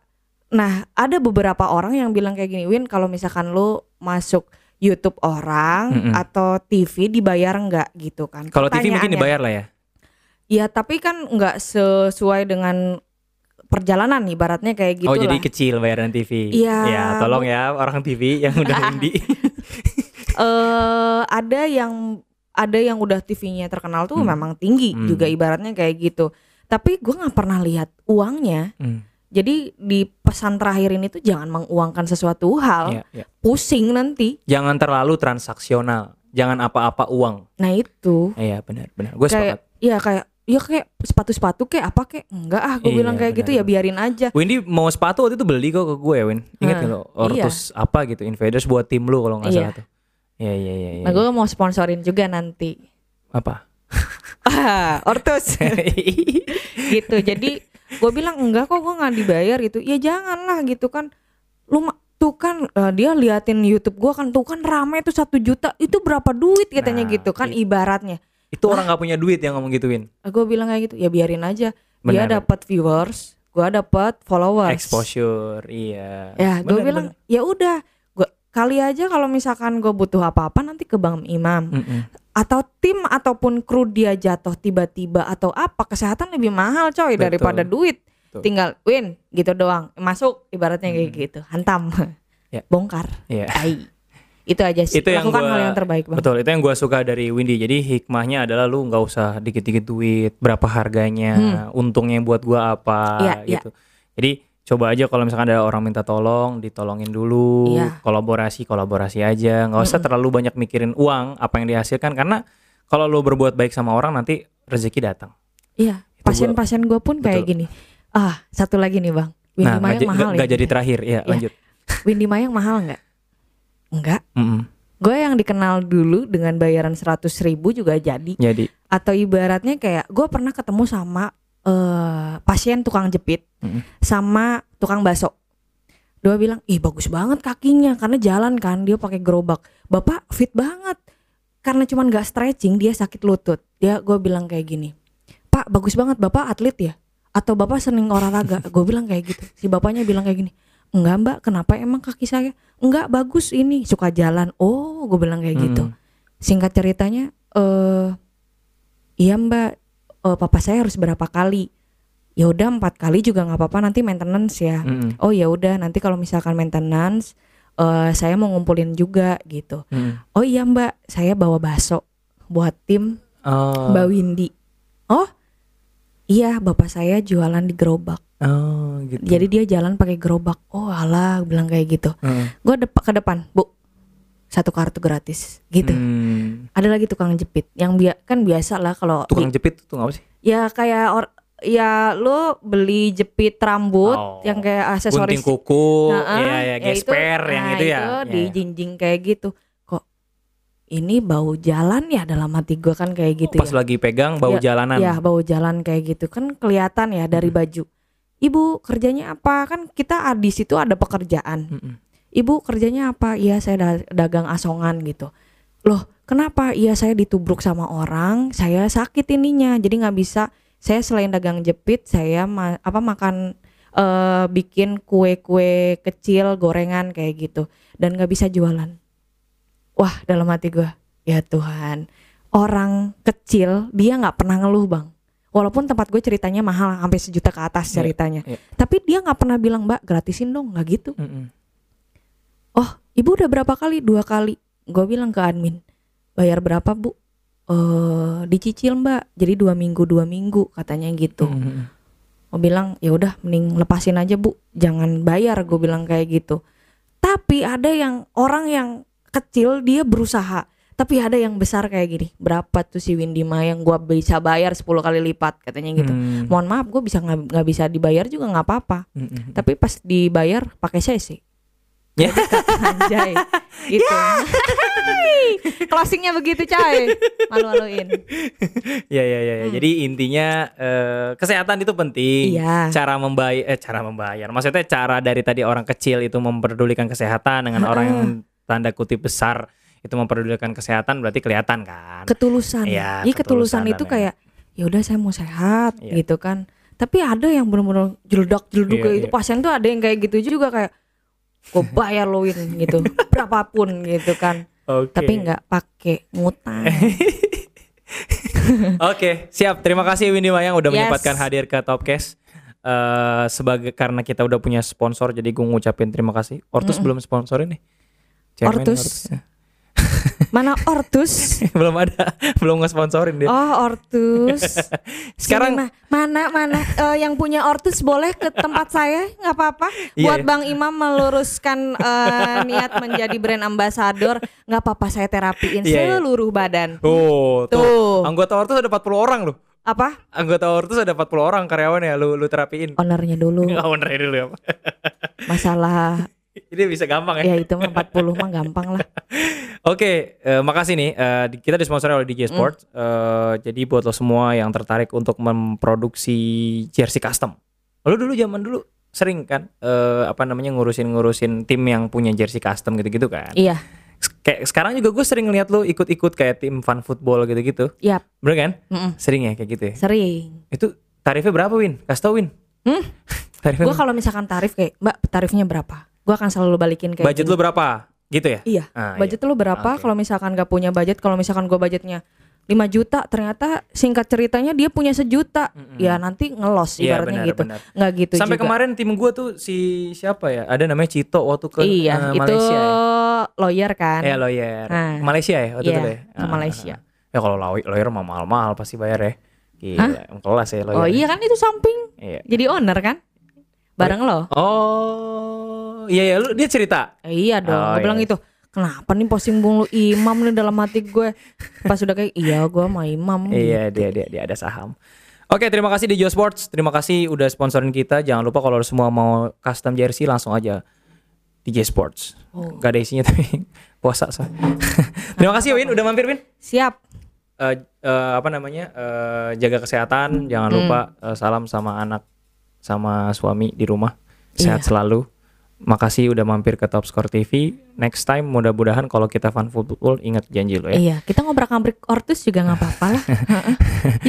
A: nah, ada beberapa orang yang bilang kayak gini, Win, kalau misalkan lu masuk YouTube orang
B: Mm-mm.
A: atau TV dibayar nggak gitu kan.
B: Kalau TV mungkin
A: Pertanyaannya,
B: dibayar lah ya.
A: Ya, tapi kan nggak sesuai dengan perjalanan ibaratnya kayak gitu
B: oh, jadi
A: lah.
B: kecil bayaran TV.
A: Iya.
B: Ya, tolong ya orang TV yang
A: *laughs*
B: udah undi.
A: Eh, ada yang ada yang udah TV-nya terkenal tuh
B: Hmm.
A: memang tinggi
B: Hmm.
A: juga ibaratnya kayak gitu. Tapi gua nggak pernah lihat uangnya.
B: Hmm,
A: Jadi di pesan terakhir ini tuh jangan menguangkan sesuatu hal,
B: iya, iya.
A: pusing nanti.
B: Jangan terlalu transaksional. Jangan apa-apa uang.
A: Nah itu
B: Iya, benar, benar. Gue
A: kayak
B: sepakat.
A: ya kayak ya kayak sepatu-sepatu kayak apa kayak enggak ah gue
B: Iya,
A: bilang kayak gitu ya biarin aja
B: Windy mau sepatu waktu itu beli kok ke gue ya Win Ingat
A: Hah,
B: kan lo Ortus apa gitu Invaders buat tim lu kalau nggak
A: Iya.
B: salah tuh Iya iya iya iya.
A: nah gue mau sponsorin juga
B: *laughs*
A: nanti
B: Apa?
A: Ah, ortus *laughs* gitu jadi gue bilang enggak kok gue nggak dibayar gitu ya janganlah gitu kan lu ma- tuh kan eh, dia liatin YouTube gue kan tuh kan rame tuh satu juta itu berapa duit katanya
B: Nah,
A: gitu kan ibaratnya
B: itu orang nggak punya duit yang ngomong gitu Win
A: gue bilang kayak gitu ya biarin aja dia
B: Benar.
A: dapat viewers gue dapat followers
B: Exposure Iya
A: ya gue
B: Bener,
A: bilang ya udah gua kali aja kalau misalkan gue butuh apa-apa nanti ke bang imam
B: bener. Mm-mm.
A: atau tim ataupun kru dia jatuh tiba-tiba atau apa kesehatan lebih mahal coy
B: Betul.
A: daripada duit
B: Betul. Hmm.
A: tinggal win gitu doang masuk ibaratnya kayak gitu hantam
B: Ya.
A: bongkar
B: Iya
A: tai itu aja sih
B: Itu yang
A: lakukan
B: gua-
A: hal yang terbaik bang
B: Betul, itu yang gue suka dari Windy. Jadi hikmahnya adalah lu nggak usah dikit-dikit duit, berapa harganya, untungnya yang buat gua
A: Hmm.
B: apa
A: Iya, iya.
B: gitu. Jadi coba aja kalau misalkan ada orang minta tolong, ditolongin dulu,
A: Iya. Hmm.
B: kolaborasi kolaborasi aja, nggak usah terlalu banyak mikirin uang apa yang dihasilkan karena kalau lu berbuat baik sama orang nanti rezeki datang.
A: iya
B: Itu
A: pasien-pasien gue pun kayak gini ah satu lagi nih bang Windy
B: nah, nggak
A: Mayang
B: ja-
A: mahal
B: nggak- nggak
A: ya
B: jadi terakhir, ya lanjut.
A: Windy Mayang mahal nggak enggak
B: Mm-mm.
A: gue yang dikenal dulu dengan bayaran 100.000 ribu juga jadi
B: Jadi,
A: atau ibaratnya kayak gue pernah ketemu sama eh, pasien tukang jepit
B: Mm-mm.
A: sama tukang bakso dua bilang ih bagus banget kakinya karena jalan kan dia pakai gerobak bapak fit banget karena cuman gak stretching dia sakit lutut dia gue bilang kayak gini pak bagus banget bapak atlet ya atau bapak seneng olahraga *laughs* gue bilang kayak gitu si bapaknya bilang kayak gini enggak mbak kenapa emang kaki saya enggak bagus ini suka jalan oh gue bilang kayak gitu
B: Hmm.
A: singkat ceritanya eh iya mbak eh, papa saya harus berapa kali ya udah empat kali juga nggak apa-apa nanti maintenance ya
B: mm-mm,
A: oh ya udah nanti kalau misalkan maintenance eh saya mau ngumpulin juga gitu
B: mm-mm.
A: oh iya mbak saya bawa bakso buat tim
B: Oh,
A: mbak Windy oh iya bapak saya jualan di gerobak
B: oh, gitu.
A: jadi dia jalan pakai gerobak oh alah bilang kayak gitu
B: Mm.
A: gue depan ke depan bu satu kartu gratis gitu
B: Hmm.
A: ada lagi tukang jepit yang bia- kan biasa lah kalau
B: Tukang jepit itu apa sih?
A: ya kayak or- ya lu beli jepit rambut
B: Oh.
A: yang kayak aksesoris
B: gunting kuku,
A: Nah,
B: ya ya
A: ya itu-
B: gesper yang
A: nah,
B: itu ya.
A: itu
B: Ya,
A: di
B: ya.
A: jinjing kayak gitu kok ini bau jalan ya dalam hati gue kan kayak gitu
B: Oh, Pas
A: ya
B: lagi pegang bau jalanan.
A: ya bau jalan kayak gitu kan kelihatan ya
B: Hmm.
A: dari baju ibu kerjanya apa kan kita ah, di situ ada pekerjaan
B: Mm-mm.
A: Ibu kerjanya apa? Iya saya da- dagang asongan gitu. Loh kenapa? Iya saya ditubruk sama orang, saya sakit ininya, jadi nggak bisa. Saya selain dagang jepit, saya ma- apa makan eh bikin kue-kue kecil, gorengan kayak gitu, dan nggak bisa jualan. Wah dalam hati gua ya Tuhan, orang kecil dia nggak pernah ngeluh bang. Walaupun tempat gue ceritanya mahal, sampai sejuta ke atas
B: Iya,
A: ceritanya.
B: iya.
A: Tapi dia nggak pernah bilang mbak gratisin dong, nggak gitu.
B: Mm-mm.
A: Oh, ibu udah berapa kali? Dua kali. Gue bilang ke admin, bayar berapa bu? Eh, dicicil mbak. Jadi dua minggu, dua minggu katanya gitu.
B: Mm-mm.
A: Gue bilang ya udah, mending lepasin aja bu, jangan bayar. Gue bilang kayak gitu. Tapi ada yang orang yang kecil dia berusaha. Tapi ada yang besar kayak gini. Berapa tuh si Windy Mayang gua bisa bayar 10 kali lipat katanya gitu.
B: Mm.
A: Mohon maaf, gue bisa nggak nggak bisa dibayar juga nggak apa-apa.
B: Mm-mm.
A: Tapi pas dibayar pakai CC.
B: Ya. *laughs*
A: Anjay gitu. Closingnya begitu coy. Malu-maluin.
B: Ya ya ya. ya. Jadi intinya eh, kesehatan itu
A: Hmm.
B: penting.
A: Iya.
B: Cara membayar, eh, cara membayar. Maksudnya cara dari tadi orang kecil itu memperdulikan kesehatan dengan orang yang tanda kutip besar itu memperdulikan kesehatan berarti kelihatan kan.
A: Ketulusan.
B: Iya,
A: Iya, ketulusan,
B: ketulusan
A: itu
B: dan
A: kayak ya udah saya mau sehat
B: Iya.
A: gitu kan. Tapi ada yang bener-bener jeledak-jeleduk
B: Iya,
A: kayak itu
B: iya.
A: pasien tuh ada yang kayak gitu juga kayak gue bayar lo Win," gitu *laughs* berapapun gitu kan
B: Oke.
A: tapi nggak pakai ngutang
B: Oke, siap. Terima kasih Windy Mayang udah
A: Yes.
B: menyempatkan hadir ke Topcast. Eh sebagai karena kita udah punya sponsor jadi gue ngucapin terima kasih. Ortus belum sponsorin nih. Cemen
A: Ortus.
B: Ortusnya.
A: mana ortus
B: *laughs* belum ada, *laughs* belum nge-sponsorin dia.
A: oh
B: *laughs*
A: ortus
B: ya. Sekarang
A: Sini, Ma. mana mana Eh, yang punya ortus boleh ke tempat saya nggak apa-apa
B: Iya,
A: buat
B: iya.
A: Bang Imam meluruskan eh, niat menjadi brand ambassador nggak apa-apa saya terapiin
B: Iya, iya.
A: seluruh badan
B: Oh, tuh.
A: Tuh.
B: Anggota Ortus ada 40 orang loh.
A: apa
B: Anggota Ortus ada 40 orang karyawan ya lu lu terapiin.
A: ownernya dulu
B: Nggak ownernya dulu ya. Pak. *laughs*
A: masalah
B: Ini bisa gampang ya.
A: ya itu mah 40 mah gampang lah
B: Oke, eh, makasih nih. Eh, di- kita disponsori oleh DJ Sport.
A: Hmm.
B: Eh, jadi buat lo semua yang tertarik untuk memproduksi jersey custom. Lo dulu zaman dulu sering kan eh, apa namanya ngurusin-ngurusin tim yang punya jersey custom gitu-gitu kan.
A: iya
B: S- Kayak sekarang juga gue sering ngeliat lo ikut-ikut kayak tim fun football gitu-gitu.
A: iya
B: Bener kan?
A: mm-mm,
B: Sering ya kayak gitu ya.
A: sering
B: Itu tarifnya berapa Win? Kasih tau Win.
A: Hmm?
B: *laughs* tarifnya
A: gue kalau misalkan tarif kayak mbak tarifnya berapa gue akan selalu balikin kayak
B: budget
A: gini.
B: lo berapa? Gitu ya?
A: iya
B: Ah,
A: budget lu berapa
B: Oke.
A: kalau misalkan gak punya budget kalau misalkan gue budgetnya 5 juta ternyata singkat ceritanya dia punya sejuta ya nanti ngelos
B: Iya,
A: ibaratnya
B: benar,
A: gitu
B: benar.
A: nggak gitu
B: Sampai
A: juga
B: kemarin tim gua tuh si siapa ya? Ada namanya Cito waktu ke eh,
A: iya itu
B: Malaysia. ya?
A: lawyer kan
B: Eh lawyer.
A: Ah.
B: Ke Malaysia ya waktu
A: Iya,
B: itu ya.
A: ke Malaysia.
B: Ya kalau lawi- lawyer mah mahal-mahal pasti bayar ya. Gila, kelas ya lawyer.
A: oh iya kan itu samping
B: Iya.
A: jadi owner kan bareng lo
B: Oh, iya ya lu dia cerita.
A: Eh, iya dong
B: Oh,
A: gue bilang
B: iya.
A: itu kenapa nih posting bung lu imam nih dalam hati gue pas udah kayak iya gue mau imam
B: Iya, dia dia dia ada saham. Oke, terima kasih di Joe Sports. Terima kasih udah sponsorin kita. Jangan lupa kalau semua mau custom jersey langsung aja DJ Sports.
A: Oh.
B: Gak ada isinya tapi *laughs* puasa
A: Hmm.
B: soalnya. terima kasih Win udah mampir Win.
A: siap
B: eh eh, apa namanya eh, jaga
A: Hmm.
B: kesehatan jangan lupa eh, salam sama anak sama suami di rumah sehat
A: Iya.
B: selalu makasih udah mampir ke Top Score TV next time mudah-mudahan kalau kita fan football ingat janji lo ya
A: Iya, kita ngobrak-abrik ortus juga nggak apa-apa
B: *laughs*
A: lah. Heeh.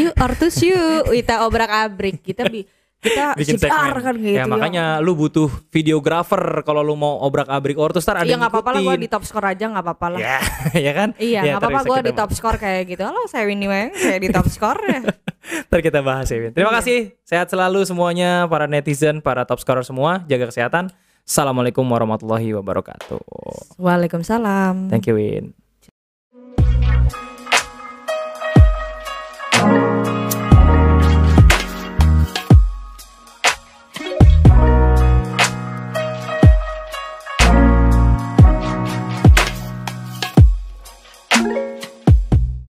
A: yuk ortus yuk, kita obrak-abrik. Kita bi kita
B: bikin
A: sidar
B: segmen
A: kan gitu.
B: ya makanya lu butuh videographer kalau lu mau obrak-abrik ortus ntar ada
A: Iya
B: yang
A: nggak apa-apa lah, gue
B: ngikutin.
A: di top score aja nggak apa-apa lah.
B: ya *laughs* ya kan
A: Iya
B: Ya,
A: nggak
B: ntar
A: apa-apa,
B: bisa
A: gue
B: kita
A: di top score kayak gitu. Halo, saya Winnie Weng, saya di top score.
B: *laughs* Ntar kita bahas ya. Win. Terima kasih. Sehat selalu semuanya para netizen, para top scorer semua. Jaga kesehatan. Assalamualaikum warahmatullahi wabarakatuh.
A: Waalaikumsalam.
B: Thank you Win.